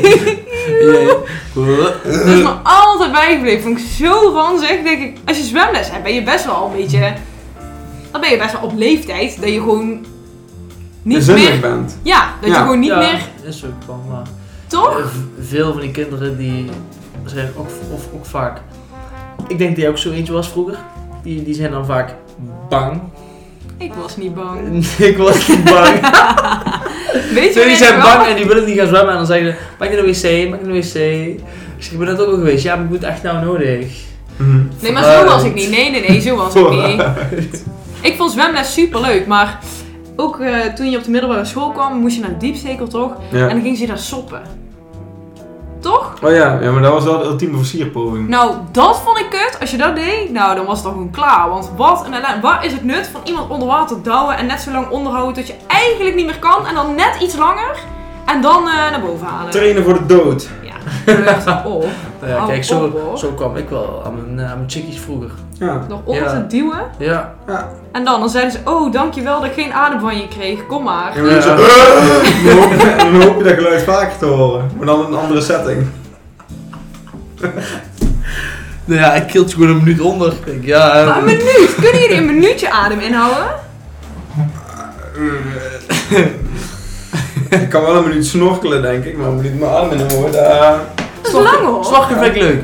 Speaker 1: Jee.
Speaker 2: Dat is me altijd bijgebleven. Vond ik zo ranzig. Denk ik, als je zwemles hebt, ben je best wel een beetje. Dan ben je best wel op leeftijd dat je gewoon niet
Speaker 3: Bezinnig
Speaker 2: meer.
Speaker 3: bent.
Speaker 2: Ja, dat je
Speaker 3: Ja.
Speaker 2: gewoon niet
Speaker 1: Ja,
Speaker 2: meer.
Speaker 1: Is ook wel, maar.
Speaker 2: Toch?
Speaker 1: Eh, v- Veel van die kinderen die zijn ook, of, ook vaak. Ik denk dat jij ook zo eentje was vroeger. Die, die zijn dan vaak bang.
Speaker 2: Ik was niet bang.
Speaker 1: ik was niet bang.
Speaker 2: Weet je
Speaker 1: Nee, die
Speaker 2: wanneer
Speaker 1: zijn
Speaker 2: ik wel-
Speaker 1: bang en die willen niet gaan zwemmen. En dan zeggen ze: Maak je een wc, maak je een wc. Ik zeg: Ik ben dat ook al geweest. Ja, maar ik moet echt nou nodig.
Speaker 3: Mhm.
Speaker 2: Nee, maar zo was
Speaker 1: Vooruit.
Speaker 2: ik niet. Nee, nee, nee, zo was ik niet. Ik vond zwemles superleuk, maar ook eh, toen je op de middelbare school kwam, moest je naar de diepstekel toch? En
Speaker 3: Ja.
Speaker 2: dan ging ze daar soppen. Toch?
Speaker 3: Oh ja, ja, maar dat was wel de ultieme versierpoging.
Speaker 2: Nou, dat vond ik kut. Als je dat deed, nou, dan was het dan gewoon klaar. Want wat een ellende. Waar is het nut van iemand onder water douwen en net zo lang onderhouden tot je eigenlijk niet meer kan? En dan net iets langer en dan eh, naar boven halen.
Speaker 3: Trainen voor de dood.
Speaker 2: Ja, lucht op.
Speaker 1: Nou ja,
Speaker 2: Oh,
Speaker 1: kijk,
Speaker 2: oh,
Speaker 1: zo,
Speaker 2: hoor.
Speaker 1: zo kwam ik wel aan mijn, eh, aan mijn chickies vroeger.
Speaker 3: Ja.
Speaker 2: Nog onder
Speaker 1: Ja.
Speaker 2: te duwen.
Speaker 1: Ja.
Speaker 2: En dan, dan zeiden ze, oh, dankjewel dat ik geen adem van je kreeg. Kom maar.
Speaker 3: En dan, zo, dan, hoop je, dan hoop je dat geluid vaker te horen. Maar dan in een andere setting.
Speaker 1: Nou ja, ik kilt gewoon een minuut onder. Ik denk, ja, eh,
Speaker 2: Maar een minuut! Kunnen jullie een minuutje adem inhouden?
Speaker 3: ik kan wel een minuut snorkelen, denk ik, maar een minuut mijn armen in hoor. daar.
Speaker 2: Dat is lang hoor.
Speaker 1: Slachten vind ik leuk.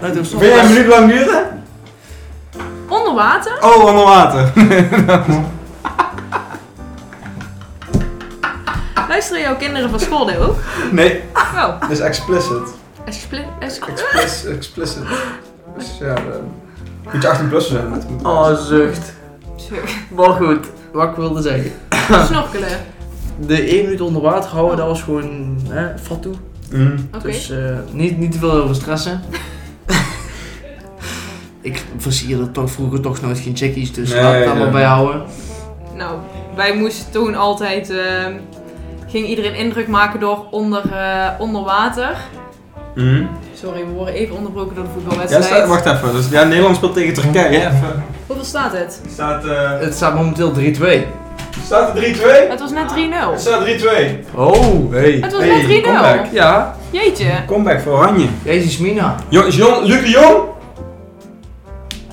Speaker 1: Laten we
Speaker 3: Wil jij een minuut lang duren?
Speaker 2: Onder water?
Speaker 3: Oh, onder water.
Speaker 2: Luisteren jouw kinderen van school dit ook?
Speaker 3: Nee,
Speaker 2: Oh,
Speaker 3: dat is Dus explicit.
Speaker 2: expli- ex-
Speaker 3: Explicit. explicit. Dus ja, eh, moet je 18 plus zijn. dat moet-
Speaker 1: Oh, zucht.
Speaker 2: Sorry.
Speaker 1: Maar goed, wat ik wilde zeggen.
Speaker 2: Snorkelen.
Speaker 1: De 1 minuut onder water houden, dat was gewoon hè, fatsoen.
Speaker 3: Mm.
Speaker 2: Oké.
Speaker 1: Dus eh, niet, niet te veel over stressen. ik versierde toch vroeger toch nooit geen chickies, dus
Speaker 3: Nee,
Speaker 1: laat het daar
Speaker 3: ja.
Speaker 1: maar bij houden.
Speaker 2: Nou, wij moesten toen altijd. ehm, ging iedereen indruk maken door onder, eh, onder water.
Speaker 3: Mm.
Speaker 2: Sorry, we worden even onderbroken door de
Speaker 3: Ja,
Speaker 2: voetbalwedstrijd.
Speaker 3: sta, wacht even. Dus, ja, Nederland speelt tegen Turkije. hè, Even.
Speaker 2: Hoeveel staat het?
Speaker 3: Staat, eh
Speaker 1: Het staat momenteel 3-2.
Speaker 3: staat er 3-2?
Speaker 2: Het was net 3-0.
Speaker 3: Het staat 3-2.
Speaker 1: Oh, hey.
Speaker 2: Het was
Speaker 3: Hey,
Speaker 2: net 3-0.
Speaker 3: comeback.
Speaker 1: Ja,
Speaker 2: Jeetje.
Speaker 3: Comeback voor Oranje.
Speaker 1: Jezus Mina.
Speaker 3: Jo John, Luc de Jong?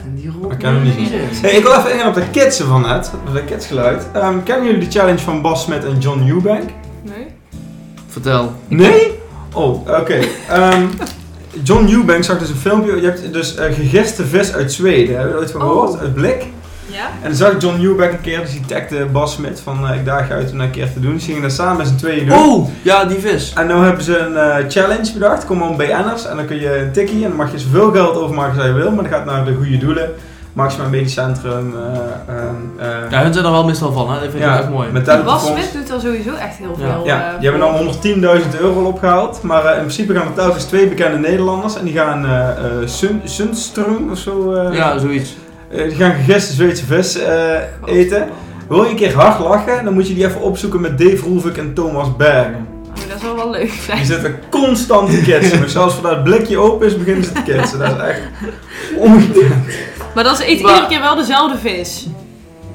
Speaker 1: En die roept
Speaker 3: Ik ken hem niet. Hey, ik wil even ingaan op de kidsen van net. Op dat kidsgeluid. Ehm, kennen jullie de challenge van Bas Smet en John Newbank?
Speaker 2: Nee.
Speaker 1: Vertel.
Speaker 3: Nee? Oh, oké. Ehm, John Newbank zag dus een filmpje. Je hebt dus eh, gegeste vis uit Zweden. Hebben jullie ooit van
Speaker 2: Oh.
Speaker 3: gehoord? Uit blik.
Speaker 2: Ja?
Speaker 3: En dan zag John Newbank een keer, dus die tagde Bas Smit van eh, ik daag je uit om dat een keer te doen. Ze gingen dat samen met z'n tweeën doen.
Speaker 1: Oh, ja, die vis.
Speaker 3: En nu hebben ze een eh, challenge bedacht. Kom om BN'ers en dan kun je een tikkie en dan mag je zoveel geld overmaken als je wil. Maar dat gaat naar de goede doelen. Maximaal Medisch Centrum. eh, ehm, eh,
Speaker 1: Ja, hun zijn er wel meestal van, hè? dat vind ik
Speaker 3: Ja,
Speaker 1: echt mooi.
Speaker 3: met
Speaker 2: Die
Speaker 3: dat
Speaker 2: Bas Smit doet al sowieso echt heel
Speaker 1: Ja.
Speaker 2: veel.
Speaker 3: Ja,
Speaker 2: eh,
Speaker 3: die hebben al 110.000 euro opgehaald. Maar eh, in principe gaan er telkens twee bekende Nederlanders. En die gaan eh eh Sun- Sundström of zo. eh,
Speaker 1: Ja, zoiets.
Speaker 3: eh, die gaan gegeste Zweedse vis eh,
Speaker 2: Oh,
Speaker 3: eten. Wil je een keer hard lachen, dan moet je die even opzoeken met Dave Roelvik en Thomas Bergen.
Speaker 2: Oh, dat zou wel leuk zijn.
Speaker 3: Die zitten constant te ketsen. Maar zelfs voordat het blikje open is, beginnen ze te ketsen. Dat is echt ongekend.
Speaker 2: Maar dat ze eten
Speaker 1: Maar-
Speaker 2: iedere keer wel dezelfde vis.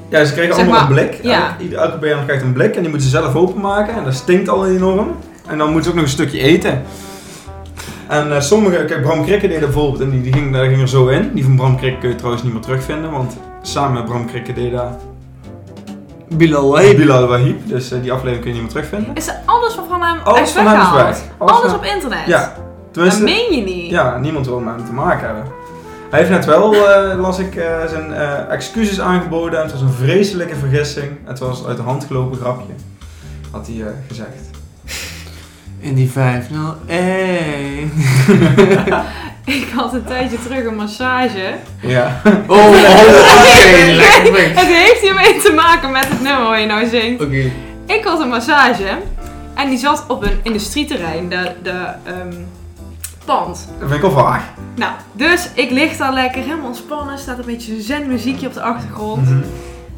Speaker 3: Ja, ze krijgen
Speaker 2: Zeg
Speaker 3: allemaal
Speaker 2: maar,
Speaker 3: een blik.
Speaker 2: ja.
Speaker 3: Elke, ieder- elke BN'er krijgt een blik en die moeten ze zelf openmaken. En dat stinkt al enorm. En dan moeten ze ook nog een stukje eten. En eh sommige, kijk Bram Krikke deed dat bijvoorbeeld en die, die ging, daar ging er zo in. Die van Bram Krikke kun je trouwens niet meer terugvinden, want samen met Bram Krikke deed dat
Speaker 1: Bilal, hey.
Speaker 3: Bilal Wahib. Dus eh, die aflevering kun je niet meer terugvinden.
Speaker 2: Is er alles van van hem
Speaker 3: Alles
Speaker 2: echt
Speaker 3: van hem is
Speaker 2: weggehaald?
Speaker 3: weg.
Speaker 2: Alles
Speaker 3: van-
Speaker 2: op internet?
Speaker 3: Ja,
Speaker 2: Dat
Speaker 3: tenminste,
Speaker 2: meen je niet.
Speaker 3: ja, niemand wil met hem te maken hebben. Hij heeft net wel, eh, las ik, eh, zijn eh, excuses aangeboden en het was een vreselijke vergissing. Het was uit de hand gelopen grapje, had hij eh, gezegd.
Speaker 1: In die 5 nou hey.
Speaker 2: Ik had een tijdje terug een massage.
Speaker 3: Ja.
Speaker 1: Oh, oh, oké, lekker weg.
Speaker 2: Het heeft hiermee te maken met het nummer waar je nou zingt.
Speaker 1: Oké.
Speaker 2: Ik had een massage en die zat op een industrieterrein, de, de ehm, pand.
Speaker 3: Dat vind ik al vaag.
Speaker 2: Nou, dus ik lig daar lekker helemaal ontspannen, staat een beetje zo'n zen muziekje op de achtergrond.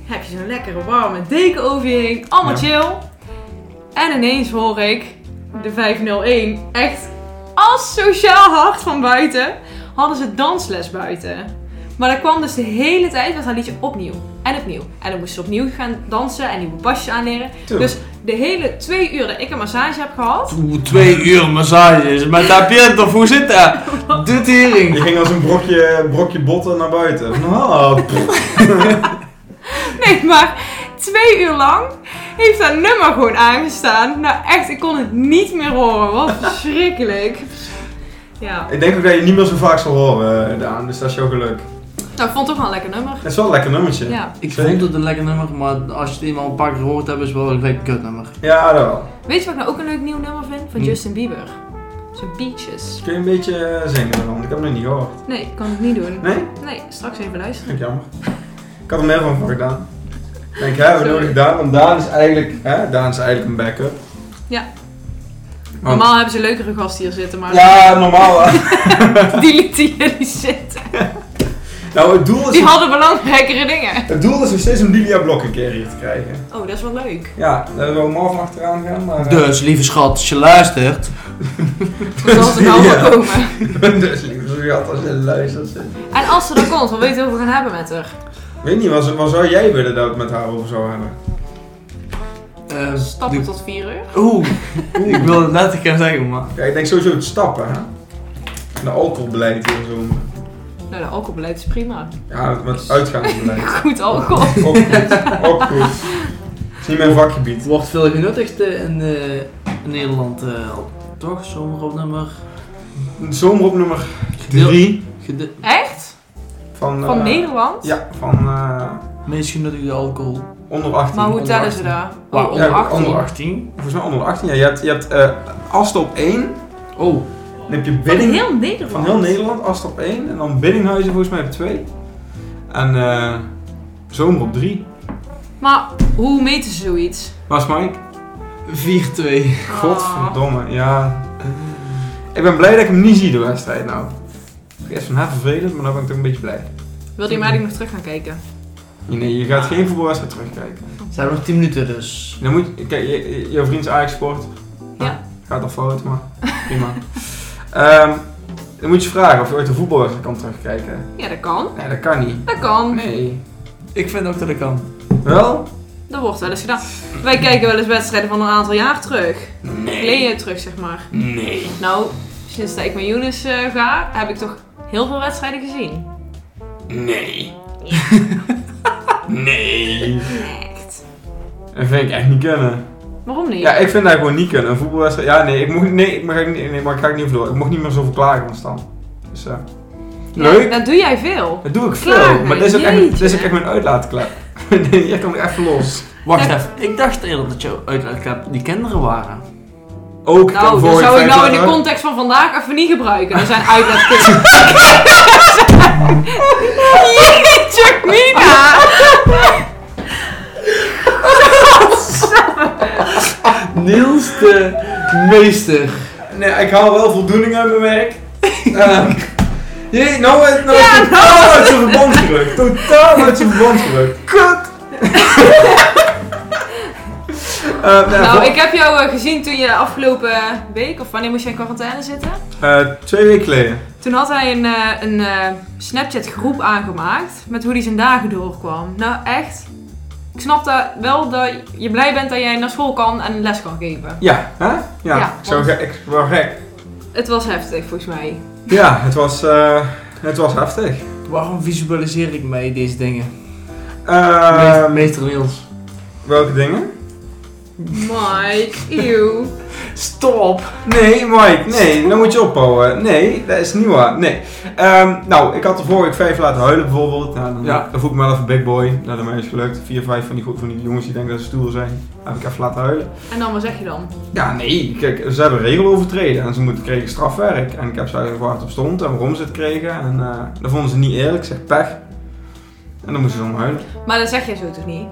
Speaker 2: Heb je zo'n lekkere warme deken over je heen, allemaal
Speaker 3: Ja.
Speaker 2: chill. En ineens hoor ik de 501 echt als sociaal hart van buiten. Hadden ze dansles buiten. Maar dat kwam dus de hele tijd, was dat liedje opnieuw en opnieuw. En dan moesten ze opnieuw gaan dansen en nieuwe pasjes aanleren.
Speaker 3: Tuurlijk.
Speaker 2: Dus de hele twee uur dat ik een massage heb gehad,
Speaker 1: Oeh, Twee uur massages met tapijt of hoe zit dat? De
Speaker 3: Je
Speaker 1: tering.
Speaker 3: ging als een brokje, brokje botten naar buiten. Van, ah, pff.
Speaker 2: Nee, maar twee uur lang heeft dat nummer gewoon aangestaan. Nou echt, ik kon het niet meer horen. Wat verschrikkelijk. Ja,
Speaker 3: ik denk ook dat je niet meer zo vaak zal horen, eh, Daan. Dus dat is jouw geluk.
Speaker 2: nou ik vond het toch wel een lekker nummer.
Speaker 3: Het is wel een lekker nummertje.
Speaker 2: Ja.
Speaker 1: Ik vond het een lekker nummer, maar als je het eenmaal een paar keer gehoord hebt, is het wel een gelijk kut nummer.
Speaker 3: Ja, dat wel.
Speaker 2: Weet je wat ik nou ook een leuk nieuw nummer vind? Van
Speaker 1: Hm.
Speaker 2: Justin Bieber. Zijn Beaches.
Speaker 3: Kun je een beetje eh, zingen dan? Want Ik heb hem nog niet gehoord.
Speaker 2: Nee, ik kan het niet doen.
Speaker 3: Nee?
Speaker 2: Nee, straks even
Speaker 3: Dat
Speaker 2: luisteren.
Speaker 3: vind ik jammer. Ik had er meer van voor gedaan. Ik denk, hè, we
Speaker 2: Sorry.
Speaker 3: nodig Daan. Want Daan is eigenlijk, hè, Daan is eigenlijk een backup.
Speaker 2: Ja.
Speaker 3: Want-
Speaker 2: Normaal hebben ze leukere gasten hier zitten, maar
Speaker 3: Oh. Ja, normaal. hè.
Speaker 2: die lieten jullie zitten.
Speaker 3: nou, het doel, is,
Speaker 2: Die hadden belangrijkere dingen.
Speaker 3: het doel is nog steeds om Lilia Blok een keer hier te krijgen.
Speaker 2: Oh, dat is wel leuk.
Speaker 3: Ja, daar wil ik morgen achteraan gaan. Maar, eh,
Speaker 1: Dus, lieve schat, als je luistert.
Speaker 2: Dat zal ze nou
Speaker 3: Ja.
Speaker 2: wel komen.
Speaker 3: dus lieve schat, als je luistert. zit.
Speaker 2: En als ze dan komt, dan weet je hoe we gaan hebben met haar.
Speaker 3: Ik weet niet, wat, wat zou jij willen dat we het met haar over zou hebben?
Speaker 1: eh,
Speaker 2: Stappen
Speaker 1: de-
Speaker 2: tot vier uur.
Speaker 1: Oeh, ik wilde het net gaan zeggen, maar.
Speaker 3: Kijk, ik denk sowieso het stappen, hè? En de alcoholbeleid en zo.
Speaker 2: Nou, de alcoholbeleid is prima.
Speaker 3: Ja, het met uitgaansbeleid.
Speaker 2: Goed alcohol.
Speaker 3: Ook goed. Ook goed. niet mijn vakgebied.
Speaker 1: Wordt veel genuttigd eh, in, eh, in Nederland eh, al, toch? Zomeropnummer
Speaker 3: Zomer op nummer
Speaker 1: Gedeel-
Speaker 3: 3
Speaker 1: gede-
Speaker 2: Echt?
Speaker 3: van,
Speaker 2: Van
Speaker 3: eh,
Speaker 2: Nederland?
Speaker 3: Ja, van eh,
Speaker 1: meest genuttigde alcohol.
Speaker 3: onder 18.
Speaker 2: Maar hoe
Speaker 3: onder
Speaker 2: tellen ze
Speaker 3: 18.
Speaker 2: daar?
Speaker 1: Wauw.
Speaker 2: Oh, onder
Speaker 3: Ja,
Speaker 2: 18.
Speaker 3: onder
Speaker 1: 18.
Speaker 3: Volgens mij onder 18, ja. Je hebt, je hebt eh, Asten op 1,
Speaker 1: Oh,
Speaker 3: dan heb je
Speaker 2: Van
Speaker 3: Bidding
Speaker 2: heel Nederland?
Speaker 3: van heel Nederland, Asten op 1. En dan Biddinghuizen volgens mij op 2. En eh, Zomer op 3.
Speaker 2: Maar hoe meten ze zoiets?
Speaker 3: Waar is Mike?
Speaker 1: 4-2.
Speaker 2: Ah.
Speaker 3: Godverdomme, ja. Ik ben blij dat ik hem niet zie de wedstrijd nou. Ik eerst van haar vervelend, maar dan ben ik toch een beetje blij.
Speaker 2: Wil je mij nog terug gaan kijken?
Speaker 3: Nee, je
Speaker 2: Ah.
Speaker 3: gaat geen voetbalwedstrijd terugkijken.
Speaker 1: Zijn we nog 10 minuten dus.
Speaker 3: Dan moet kijk, je, je- jouw vriend is Ajax Sport. Nou,
Speaker 2: Ja.
Speaker 3: Gaat al fout, maar prima. Ehm, dan moet je vragen of je ooit een voetbalwedstrijd kan terugkijken.
Speaker 2: Ja, dat kan.
Speaker 3: Nee, dat kan niet.
Speaker 2: Dat kan.
Speaker 3: Nee.
Speaker 1: Ik vind ook dat ik kan.
Speaker 3: Wel?
Speaker 2: Dat wordt wel eens gedaan. Wij kijken wel eens wedstrijden van een aantal jaar terug. Geleden terug, zeg maar.
Speaker 1: Nee.
Speaker 2: Nou, sinds dat ik met Younes eh, ga, heb ik toch heel veel wedstrijden gezien.
Speaker 3: Nee. nee.
Speaker 2: Echt?
Speaker 3: Dat vind ik echt niet kunnen.
Speaker 2: Waarom niet?
Speaker 3: Ja, ik vind dat gewoon niet kunnen. Een voetbalwedstrijd. Ja, nee, ik mocht, nee, ik mag, nee, nee, maar ik ga ik niet over door. Ik mocht niet meer zoveel klagen van Stan. Dus, eh,
Speaker 2: Ja,
Speaker 3: leuk.
Speaker 2: Dat doe jij veel.
Speaker 3: Dat doe ik veel,
Speaker 2: Klagen,
Speaker 3: maar dit is, ook echt, dit is ook
Speaker 2: jeetje.
Speaker 3: echt mijn uitlaatklep. nee, hier kom ik echt los.
Speaker 1: Wacht
Speaker 2: Ja.
Speaker 1: even, ik dacht eerder dat je uitlaatklep die kinderen waren.
Speaker 3: Ook
Speaker 2: Nou,
Speaker 3: voor
Speaker 2: dat
Speaker 3: je
Speaker 2: zou ik
Speaker 3: vijf
Speaker 2: nou in
Speaker 3: jaar
Speaker 2: de
Speaker 3: terug.
Speaker 2: context van vandaag even niet gebruiken. Er zijn uitlaatklep. Jeetje, Mina!
Speaker 1: Niels de meester.
Speaker 3: Nee, ik haal wel voldoening uit mijn werk. Ehm, Jee, nou werd nou
Speaker 2: Ja,
Speaker 3: werd totaal uit zijn verband gerukt. Totaal uit zijn verband gerukt. Kut! Eh, nou,
Speaker 2: Nou,
Speaker 3: vol-
Speaker 2: ik heb jou eh, gezien toen je afgelopen week, of wanneer moest je in quarantaine zitten?
Speaker 3: eh, twee weken geleden.
Speaker 2: Toen had hij een, eh, een eh, Snapchat groep aangemaakt met hoe hij zijn dagen doorkwam. Nou echt, ik snap dat wel dat je blij bent dat jij naar school kan en les kan geven.
Speaker 3: Ja, hè? Ja,
Speaker 2: Ja,
Speaker 3: ik, zou,
Speaker 2: want-
Speaker 3: ge- ik wou gek.
Speaker 2: Het was heftig volgens mij.
Speaker 3: Ja, het was, eh, het was heftig.
Speaker 1: Waarom visualiseer ik mij deze dingen?
Speaker 3: Ehm,
Speaker 1: Meester- meester Niels.
Speaker 3: welke dingen?
Speaker 2: Mike, ew.
Speaker 1: Stop!
Speaker 3: Nee, Mike, nee, dan moet je opbouwen. Nee, dat is niet waar. Nee. Ehm, nou, ik had er vorige week vijf laten huilen bijvoorbeeld. Nou, dan,
Speaker 1: Ja.
Speaker 3: dan voel ik me wel even big boy. Nou, dat mij is gelukt. Vier, vijf van die, go- van die jongens die denken dat ze stoer zijn. Heb ik even laten huilen.
Speaker 2: En dan, wat zeg je dan?
Speaker 3: Ja, nee, kijk, ze hebben regel overtreden en ze moeten kregen strafwerk. En ik heb ze uitgevraagd waar het op stond en waarom ze het kregen. En eh, dat vonden ze niet eerlijk, Ik zeg pech. En dan moesten ze om huilen.
Speaker 2: Maar dat zeg jij zo toch niet?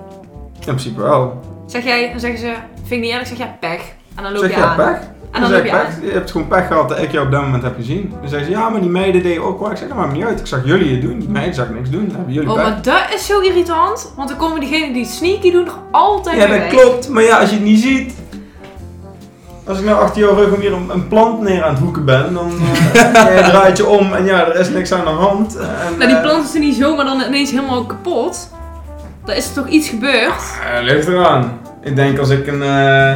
Speaker 3: In principe wel.
Speaker 2: Zeg jij, dan zeggen ze, vind ik niet eerlijk, zeg jij pech. En dan loop
Speaker 3: Zeg
Speaker 2: je
Speaker 3: ja,
Speaker 2: aan.
Speaker 3: pech?
Speaker 2: En
Speaker 3: Dan
Speaker 2: dan
Speaker 3: zeg
Speaker 2: loop
Speaker 3: ik,
Speaker 2: je
Speaker 3: pech,
Speaker 2: aan.
Speaker 3: je hebt gewoon pech gehad dat ik jou op dat moment heb gezien. Dan zeggen ze, ja, maar die meiden deden ook wel. Ik zeg, dat maakt me niet uit. Ik zag jullie het doen. Die meiden zag ik niks doen. Dan hebben jullie
Speaker 2: Oh,
Speaker 3: pech.
Speaker 2: maar dat is zo irritant, want dan komen diegenen die het sneaky doen nog altijd
Speaker 3: Ja,
Speaker 2: weer
Speaker 3: dat
Speaker 2: weg.
Speaker 3: klopt. Maar ja, als je het niet ziet... Als ik nou achter jouw rug om hier een, een plant neer aan het hoeken ben, dan eh, jij draait je om en ja, er is niks aan de hand. En,
Speaker 2: Nou, die
Speaker 3: eh,
Speaker 2: planten zijn niet zomaar dan ineens helemaal kapot. Daar is er toch iets gebeurd?
Speaker 3: Eh, ligt eraan. Ik denk als ik een, eh,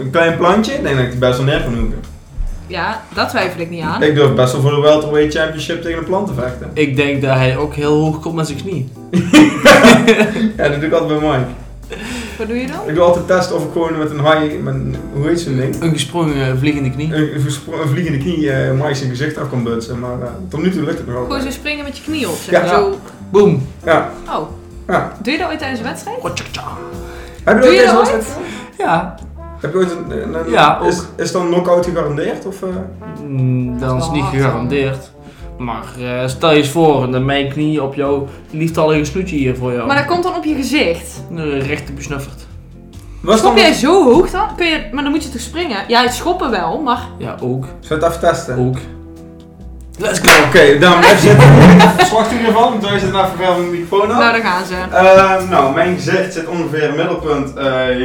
Speaker 3: een klein plantje, ik denk dat ik die best wel neer kan hoeken.
Speaker 2: Ja, dat twijfel ik niet aan.
Speaker 3: Ik durf best wel voor de welterweight championship tegen een plant te vechten.
Speaker 1: Ik denk dat hij ook heel hoog komt met zijn knie.
Speaker 3: Ja, dat doe ik altijd bij Mike.
Speaker 2: Wat doe je dan?
Speaker 3: Ik doe altijd testen of ik gewoon met een high, met een- hoe heet zo'n ding?
Speaker 1: Een gesprongen eh, vliegende knie.
Speaker 3: Een, een verspro- een vliegende knie eh Mike zijn gezicht af kan butsen, maar eh, tot nu toe lukt het nog wel.
Speaker 2: Gewoon zo springen met je knie op. Zeg.
Speaker 3: Ja.
Speaker 2: Zo.
Speaker 1: Boom!
Speaker 3: Ja,
Speaker 2: Oh,
Speaker 3: ja.
Speaker 2: doe je dat ooit tijdens een wedstrijd?
Speaker 1: Otjakja.
Speaker 3: Heb je
Speaker 2: Doe
Speaker 3: ooit
Speaker 2: je
Speaker 3: eens
Speaker 2: dat
Speaker 3: wat-
Speaker 2: ooit?
Speaker 1: Ja,
Speaker 3: Heb je ooit een... een- een-
Speaker 1: Ja, ook.
Speaker 3: Is, is dan knock-out gegarandeerd of... eh?
Speaker 1: Mm,
Speaker 2: Dat
Speaker 1: dat
Speaker 2: is
Speaker 1: is
Speaker 2: wel
Speaker 1: niet
Speaker 2: hard,
Speaker 1: gegarandeerd. Maar eh, stel je eens voor dat mijn knie op jouw lieftallige snoetje hier voor jou
Speaker 2: Maar dat komt dan op je gezicht.
Speaker 1: eh, recht besnuffert.
Speaker 3: Was
Speaker 2: Schop
Speaker 3: dan...
Speaker 2: jij zo hoog dan? Kun je, maar dan moet je toch springen? Ja, het schoppen wel, maar...
Speaker 1: Ja, ook.
Speaker 3: Zullen we het even testen?
Speaker 1: Ook. Let's go!
Speaker 3: Oké, dan blijf zitten. Verslag in ieder geval, want wij zitten even ver van de microfoon af.
Speaker 2: Nou, daar gaan ze.
Speaker 3: Ehm, nou, mijn gezicht zit ongeveer middelpunt eh,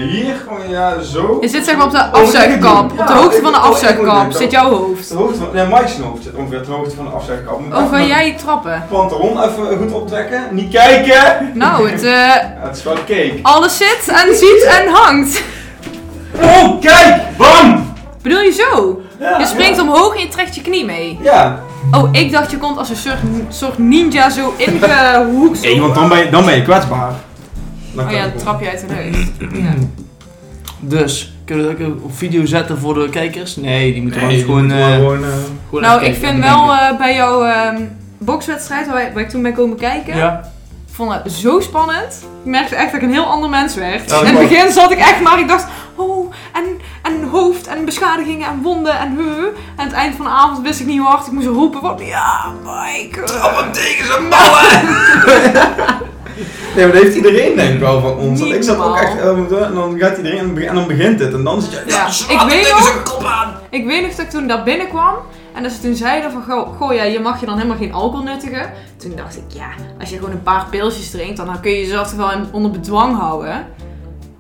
Speaker 3: hier. Gewoon, ja, zo.
Speaker 2: Je zit zeg maar op de
Speaker 3: Oh, ik
Speaker 2: afzuigkap.
Speaker 3: moet-
Speaker 2: Op de
Speaker 3: ja,
Speaker 2: hoogte
Speaker 3: ik
Speaker 2: van de
Speaker 3: moet- oh, ik moet
Speaker 2: afzuigkap
Speaker 3: dit
Speaker 2: zit
Speaker 3: ook.
Speaker 2: jouw hoofd.
Speaker 3: De hoogte van, nee, Mike's hoofd zit ongeveer ten hoogte van de afzuigkap. Moet ik
Speaker 2: Of
Speaker 3: even
Speaker 2: wil
Speaker 3: mijn
Speaker 2: jij trappen?
Speaker 3: Pantalon even goed optrekken. Niet kijken!
Speaker 2: Nou, het, eh,
Speaker 3: Ja, het is wel cake.
Speaker 2: alles zit en ziet en hangt.
Speaker 3: Oh, kijk! Bam!
Speaker 2: Bedoel je zo?
Speaker 3: Ja,
Speaker 2: Je springt
Speaker 3: ja.
Speaker 2: omhoog en je trekt je knie mee.
Speaker 3: Ja.
Speaker 2: Oh, ik dacht je komt als een soort, soort ninja zo ingehoekt.
Speaker 3: Nee, want dan ben je, dan ben je kwetsbaar. Dan
Speaker 2: Oh
Speaker 3: kan
Speaker 2: ja,
Speaker 3: ik
Speaker 2: dat
Speaker 3: wel.
Speaker 2: trap je uit de neus. Ja.
Speaker 1: Dus, kunnen we dat ook op video zetten voor de kijkers? Nee, die moeten
Speaker 3: Nee,
Speaker 1: ons
Speaker 3: je
Speaker 1: gewoon,
Speaker 3: moet wel
Speaker 1: eh,
Speaker 3: gewoon, eh,
Speaker 1: gewoon
Speaker 2: Nou,
Speaker 1: even
Speaker 2: ik
Speaker 1: kijken,
Speaker 2: vind
Speaker 1: even
Speaker 2: wel eh, bij jouw ehm, bokswedstrijd, waar, waar ik toen ben komen kijken,
Speaker 1: denken. Ja,
Speaker 2: ik vond het zo spannend. Ik merkte echt dat ik een heel ander mens werd.
Speaker 3: Ja, dat
Speaker 2: In het
Speaker 3: klopt.
Speaker 2: begin zat ik echt maar, ik dacht, oh, en, en hoofd, en beschadigingen, en wonden, en huh. En aan het eind van de avond wist ik niet hoe hard ik moest roepen, want ja, Mike. eh."
Speaker 3: Op een tegen zijn ballen! nee, maar dat heeft iedereen denk ik wel van ons. Want
Speaker 2: Niet
Speaker 3: ik zat ook
Speaker 2: normaal.
Speaker 3: echt, eh, moet doen, en dan gaat iedereen en begin- en dan begint het. En dan zit je,
Speaker 2: Ja,
Speaker 3: ja,
Speaker 2: ik
Speaker 3: slaat hem
Speaker 2: weet
Speaker 3: tegen
Speaker 2: nog-
Speaker 3: zijn kop aan!
Speaker 2: Ik weet nog dat ik toen daar binnenkwam en dat ze toen zeiden van, goh, goh ja, je mag je dan helemaal geen alcohol nuttigen. Toen dacht ik, ja, als je gewoon een paar pilsjes drinkt, dan kun je jezelf toch wel in- onder bedwang houden.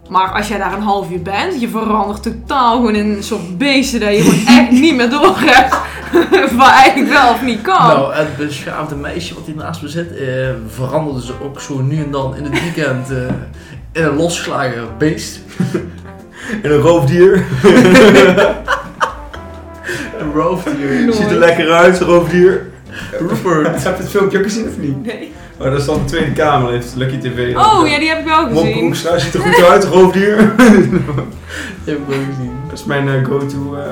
Speaker 2: Maar als jij daar een half uur bent, je verandert totaal gewoon in een soort beestje dat je gewoon echt niet meer door hebt. Waar eigenlijk wel of niet kan.
Speaker 4: Nou, het beschaafde meisje wat hier naast me zit, eh, veranderde ze ook zo nu en dan in het weekend eh, in een losgeslagen beest.
Speaker 3: En een roofdier.
Speaker 4: Een roofdier.
Speaker 2: Nooit.
Speaker 3: Ziet er lekker uit, zo'n roofdier.
Speaker 4: Rupert.
Speaker 3: Heb je het filmpje ook gezien of niet?
Speaker 2: Nee.
Speaker 3: Maar dat is dan de Tweede Kamer, heeft Lucky TV. dan.
Speaker 2: Oh ja, die heb ik wel
Speaker 3: Wopke
Speaker 2: gezien.
Speaker 3: Hoekstra eh, ziet er goed uit, roofdier.
Speaker 4: Die heb ik ook gezien.
Speaker 3: Dat is mijn eh, go-to. eh,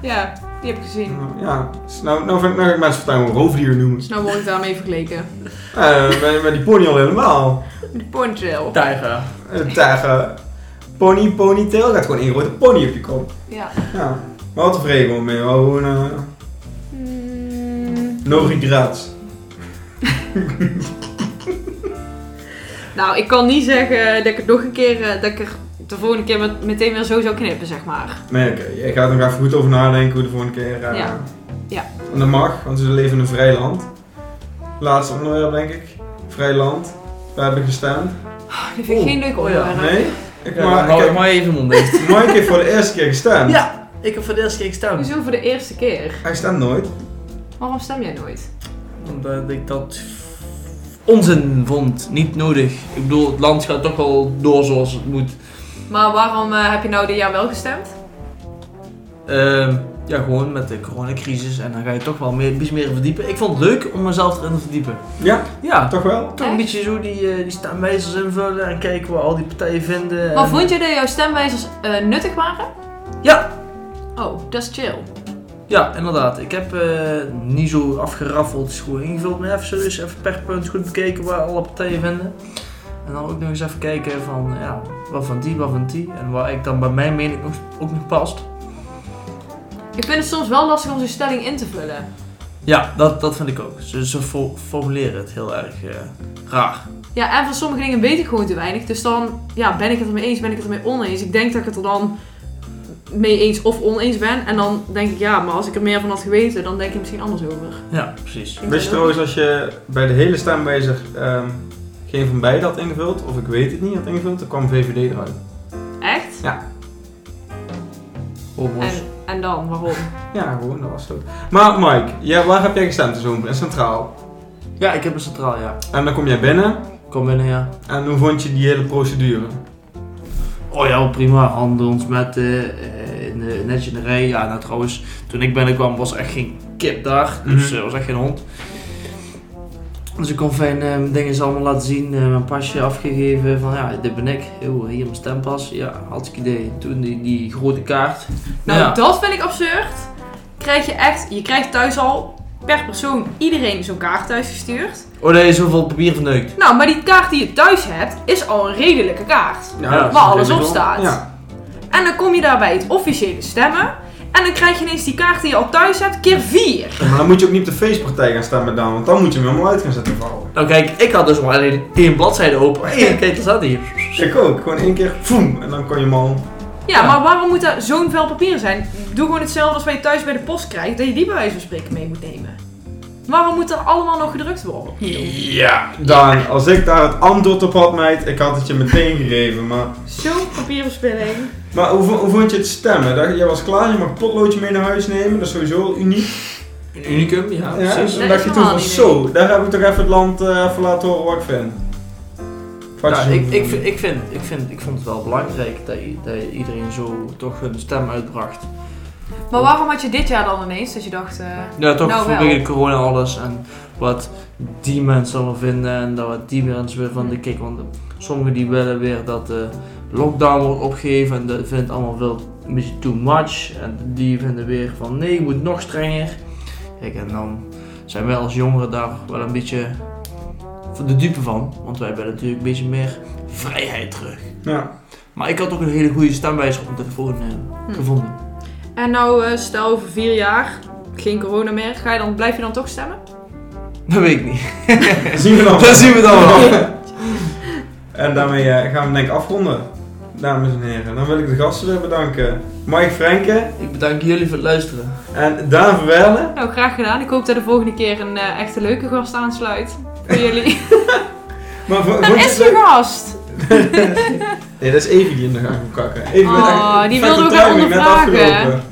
Speaker 2: Ja, die heb ik gezien.
Speaker 3: ja, Dus nou, nou vind ik nou ga ik mensen voortaan gewoon roofdier noemen.
Speaker 2: Dus nou word ik daarmee vergeleken.
Speaker 3: Eh, met, met die pony al helemaal.
Speaker 2: De ponytail.
Speaker 4: Tijger.
Speaker 3: Eh, Tegen pony, ponytail, gaat gewoon één grote pony op je kop.
Speaker 2: Ja.
Speaker 3: Ja, maar wat tevreden gewoon mee. Wel gewoon eh
Speaker 2: Hmm.
Speaker 3: no regrets.
Speaker 2: Nou, ik kan niet zeggen dat ik het nog een keer, eh, dat ik er de volgende keer met, meteen weer zo zou knippen, zeg maar.
Speaker 3: Nee, oké. jij gaat er nog even goed over nadenken hoe de volgende keer... eh,
Speaker 2: Ja. Ja.
Speaker 3: En dat mag, want we leven in een vrij land. Laatste onderwerp, denk ik. Vrij land. Waar heb ik gestemd?
Speaker 2: Dat vind ik
Speaker 4: Oeh,
Speaker 2: geen leuk
Speaker 4: oh ja,
Speaker 2: onderwerp.
Speaker 3: Nee? Ik,
Speaker 4: Ja,
Speaker 3: maar,
Speaker 4: hou
Speaker 3: ik
Speaker 4: ik
Speaker 3: heb
Speaker 4: maar even mond dicht.
Speaker 3: maar ik heb voor de eerste keer gestemd.
Speaker 4: Ja, ik heb voor de eerste keer gestemd.
Speaker 2: Hoezo voor de eerste keer?
Speaker 3: Hij stemt nooit.
Speaker 2: Waarom stem jij nooit?
Speaker 1: omdat ik dat onzin vond, niet nodig. Ik bedoel, het land gaat toch wel door zoals het moet.
Speaker 2: Maar waarom eh, heb je nou dit jaar wel gestemd?
Speaker 1: Ehm, ja, gewoon met de coronacrisis en dan ga je toch wel meer, iets meer verdiepen. Ik vond het leuk om mezelf erin te verdiepen.
Speaker 3: Ja,
Speaker 1: Ja,
Speaker 3: toch wel?
Speaker 1: toch een beetje zo die, eh, die stemwijzers invullen en kijken wat al die partijen vinden.
Speaker 2: Maar
Speaker 4: Ehm.
Speaker 1: en-
Speaker 2: vond je dat jouw stemwijzers eh, nuttig waren?
Speaker 1: Ja,
Speaker 2: Oh, dat is chill.
Speaker 1: ja, inderdaad. Ik heb eh, niet zo afgeraffeld, het is gewoon ingevuld, maar even serieus, even per punt goed bekeken waar alle partijen vinden. En dan ook nog eens even kijken van, ja, wat van die, wat van die. En waar ik dan bij mijn mening ook, ook nog past.
Speaker 2: Ik vind het soms wel lastig om zo'n stelling in te vullen.
Speaker 1: Ja, dat, dat vind ik ook. Ze, ze fo- formuleren het heel erg eh, raar.
Speaker 2: Ja, en van sommige dingen weet ik gewoon te weinig. Dus dan ja, ben ik het ermee eens, ben ik het ermee oneens. Ik denk dat ik het er dan mee eens of oneens ben. En dan denk ik, ja, maar als ik er meer van had geweten, dan denk ik er misschien anders over.
Speaker 1: Ja, precies.
Speaker 2: Ik
Speaker 3: Wist je
Speaker 2: ben heel-
Speaker 3: trouwens als je bij de hele stemwijzer ehm, geen van beide had ingevuld, of ik weet het niet had ingevuld, dan kwam VVD eruit.
Speaker 2: Echt?
Speaker 1: Homo's.
Speaker 2: En, en dan, waarom?
Speaker 3: Ja, gewoon, dat was het ook. Maar Mike, jij, waar heb jij gestemd in Zoom? In Centraal.
Speaker 1: Ja, ik heb een centraal, ja.
Speaker 3: En dan kom jij binnen.
Speaker 1: Kom binnen, ja.
Speaker 3: En hoe vond je die hele procedure?
Speaker 1: Oh ja, wel prima. Handen ons met eh, eh, in de, net in de rij. Ja, nou trouwens, toen ik binnenkwam was echt geen kip daar. Dus
Speaker 3: Mhm.
Speaker 1: eh, was echt geen hond. Dus ik kon fijn eh, mijn dingen allemaal laten zien. eh, mijn pasje afgegeven. Van ja, dit ben ik. Yo, hier mijn stempas. Ja, had ik idee. Toen die, die grote kaart.
Speaker 2: Nou,
Speaker 1: ja.
Speaker 2: dat vind ik absurd. Krijg je echt, je krijgt thuis al per persoon iedereen zo'n kaart thuis gestuurd.
Speaker 1: Oh nee, zoveel papier verneukt.
Speaker 2: Nou, maar die kaart die je thuis hebt, is al een redelijke kaart.
Speaker 1: Ja,
Speaker 3: dat is
Speaker 2: waar alles
Speaker 3: natuurlijk
Speaker 2: op
Speaker 3: wel-
Speaker 2: staat.
Speaker 3: Ja.
Speaker 2: En dan kom je daar bij het officiële stemmen. En dan krijg je ineens die kaart die je al thuis hebt, keer vier.
Speaker 3: Ja, Maar dan moet je ook niet op de feestpartij gaan stemmen dan, want dan moet je hem helemaal uit gaan zetten vallen.
Speaker 1: Nou kijk, ik had dus maar alleen één bladzijde open. Hé, kijk, daar staat hier.
Speaker 3: Ik ook, gewoon één keer, voem, en dan kon je hem al...
Speaker 2: Ja,
Speaker 1: Ja.
Speaker 2: maar waarom moet daar zo'n vel papier zijn? Doe gewoon hetzelfde als wat je thuis bij de post krijgt, dat je die bij wijze van spreken mee moet nemen. Waarom moet er allemaal nog gedrukt worden?
Speaker 3: Ja. Dan, als ik daar het antwoord op had, meid, ik had het je meteen gegeven, maar...
Speaker 2: Zo'n papierverspilling.
Speaker 3: Maar hoe, vo- hoe vond je het stemmen? Daar- Jij was klaar, je mag een potloodje mee naar huis nemen, dat is sowieso al uniek.
Speaker 1: Unicum, ja,
Speaker 3: Ja,
Speaker 1: precies.
Speaker 3: dan
Speaker 2: Dat
Speaker 3: dacht
Speaker 2: is
Speaker 3: je toen
Speaker 2: normaal
Speaker 3: van
Speaker 2: niet,
Speaker 3: zo, daar heb ik toch even het land eh, even laten horen wat ik vind. Wat
Speaker 1: Ja,
Speaker 3: je zo
Speaker 1: Nou, ik, ik,
Speaker 3: vond.
Speaker 1: vind, ik, vind, ik, vind, ik vond het wel belangrijk dat, i- dat iedereen zo toch hun stem uitbracht.
Speaker 2: Maar waarom had je dit jaar dan ineens dat je dacht... eh,
Speaker 1: Ja, toch
Speaker 2: Nou, wel.
Speaker 1: vanwege de corona alles en wat die mensen dan vinden en dat wat die mensen weer van de kick. Want sommigen die willen weer dat de lockdown wordt opgegeven en dat vindt het allemaal wel een beetje too much. En die vinden weer van nee, het moet nog strenger. Kijk, en dan zijn wij als jongeren daar wel een beetje van de dupe van. Want wij willen natuurlijk een beetje meer vrijheid terug.
Speaker 3: Ja.
Speaker 1: Maar ik had ook een hele goede stemwijzer op de telefoon eh,
Speaker 2: Hm.
Speaker 1: gevonden.
Speaker 2: En nou, eh, stel over vier jaar, geen corona meer, ga je dan, blijf je dan toch stemmen?
Speaker 1: Dat weet ik niet.
Speaker 3: Zien we dan.
Speaker 1: Dat zien we dan wel.
Speaker 3: En daarmee eh, gaan we denk ik afronden, dames en heren. Dan wil ik de gasten weer bedanken. Mike Frenke
Speaker 1: Ik bedank jullie voor het luisteren.
Speaker 3: en Daan Verwerle.
Speaker 2: Nou, graag gedaan. Ik hoop dat de volgende keer een eh, echte leuke gast aansluit voor jullie.
Speaker 3: Maar vo-
Speaker 2: Dat
Speaker 3: vond je
Speaker 2: is
Speaker 3: het leuk?
Speaker 2: je gast!
Speaker 3: Nee, dat is Evie die in de gang moet kakken. Evie
Speaker 2: Oh,
Speaker 3: met echt
Speaker 2: die
Speaker 3: vette
Speaker 2: wilde we ook
Speaker 3: timing, net
Speaker 2: ondervragen.
Speaker 3: afgelopen.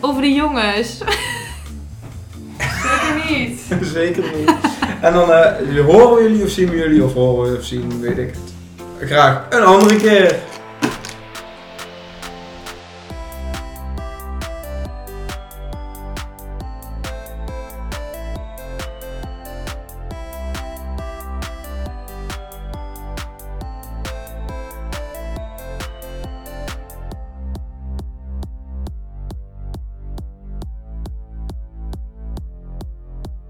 Speaker 2: Over de jongens. Zeker niet.
Speaker 3: Zeker niet. En dan eh, horen we jullie of zien we jullie of horen we of zien, weet ik het. Graag een andere keer.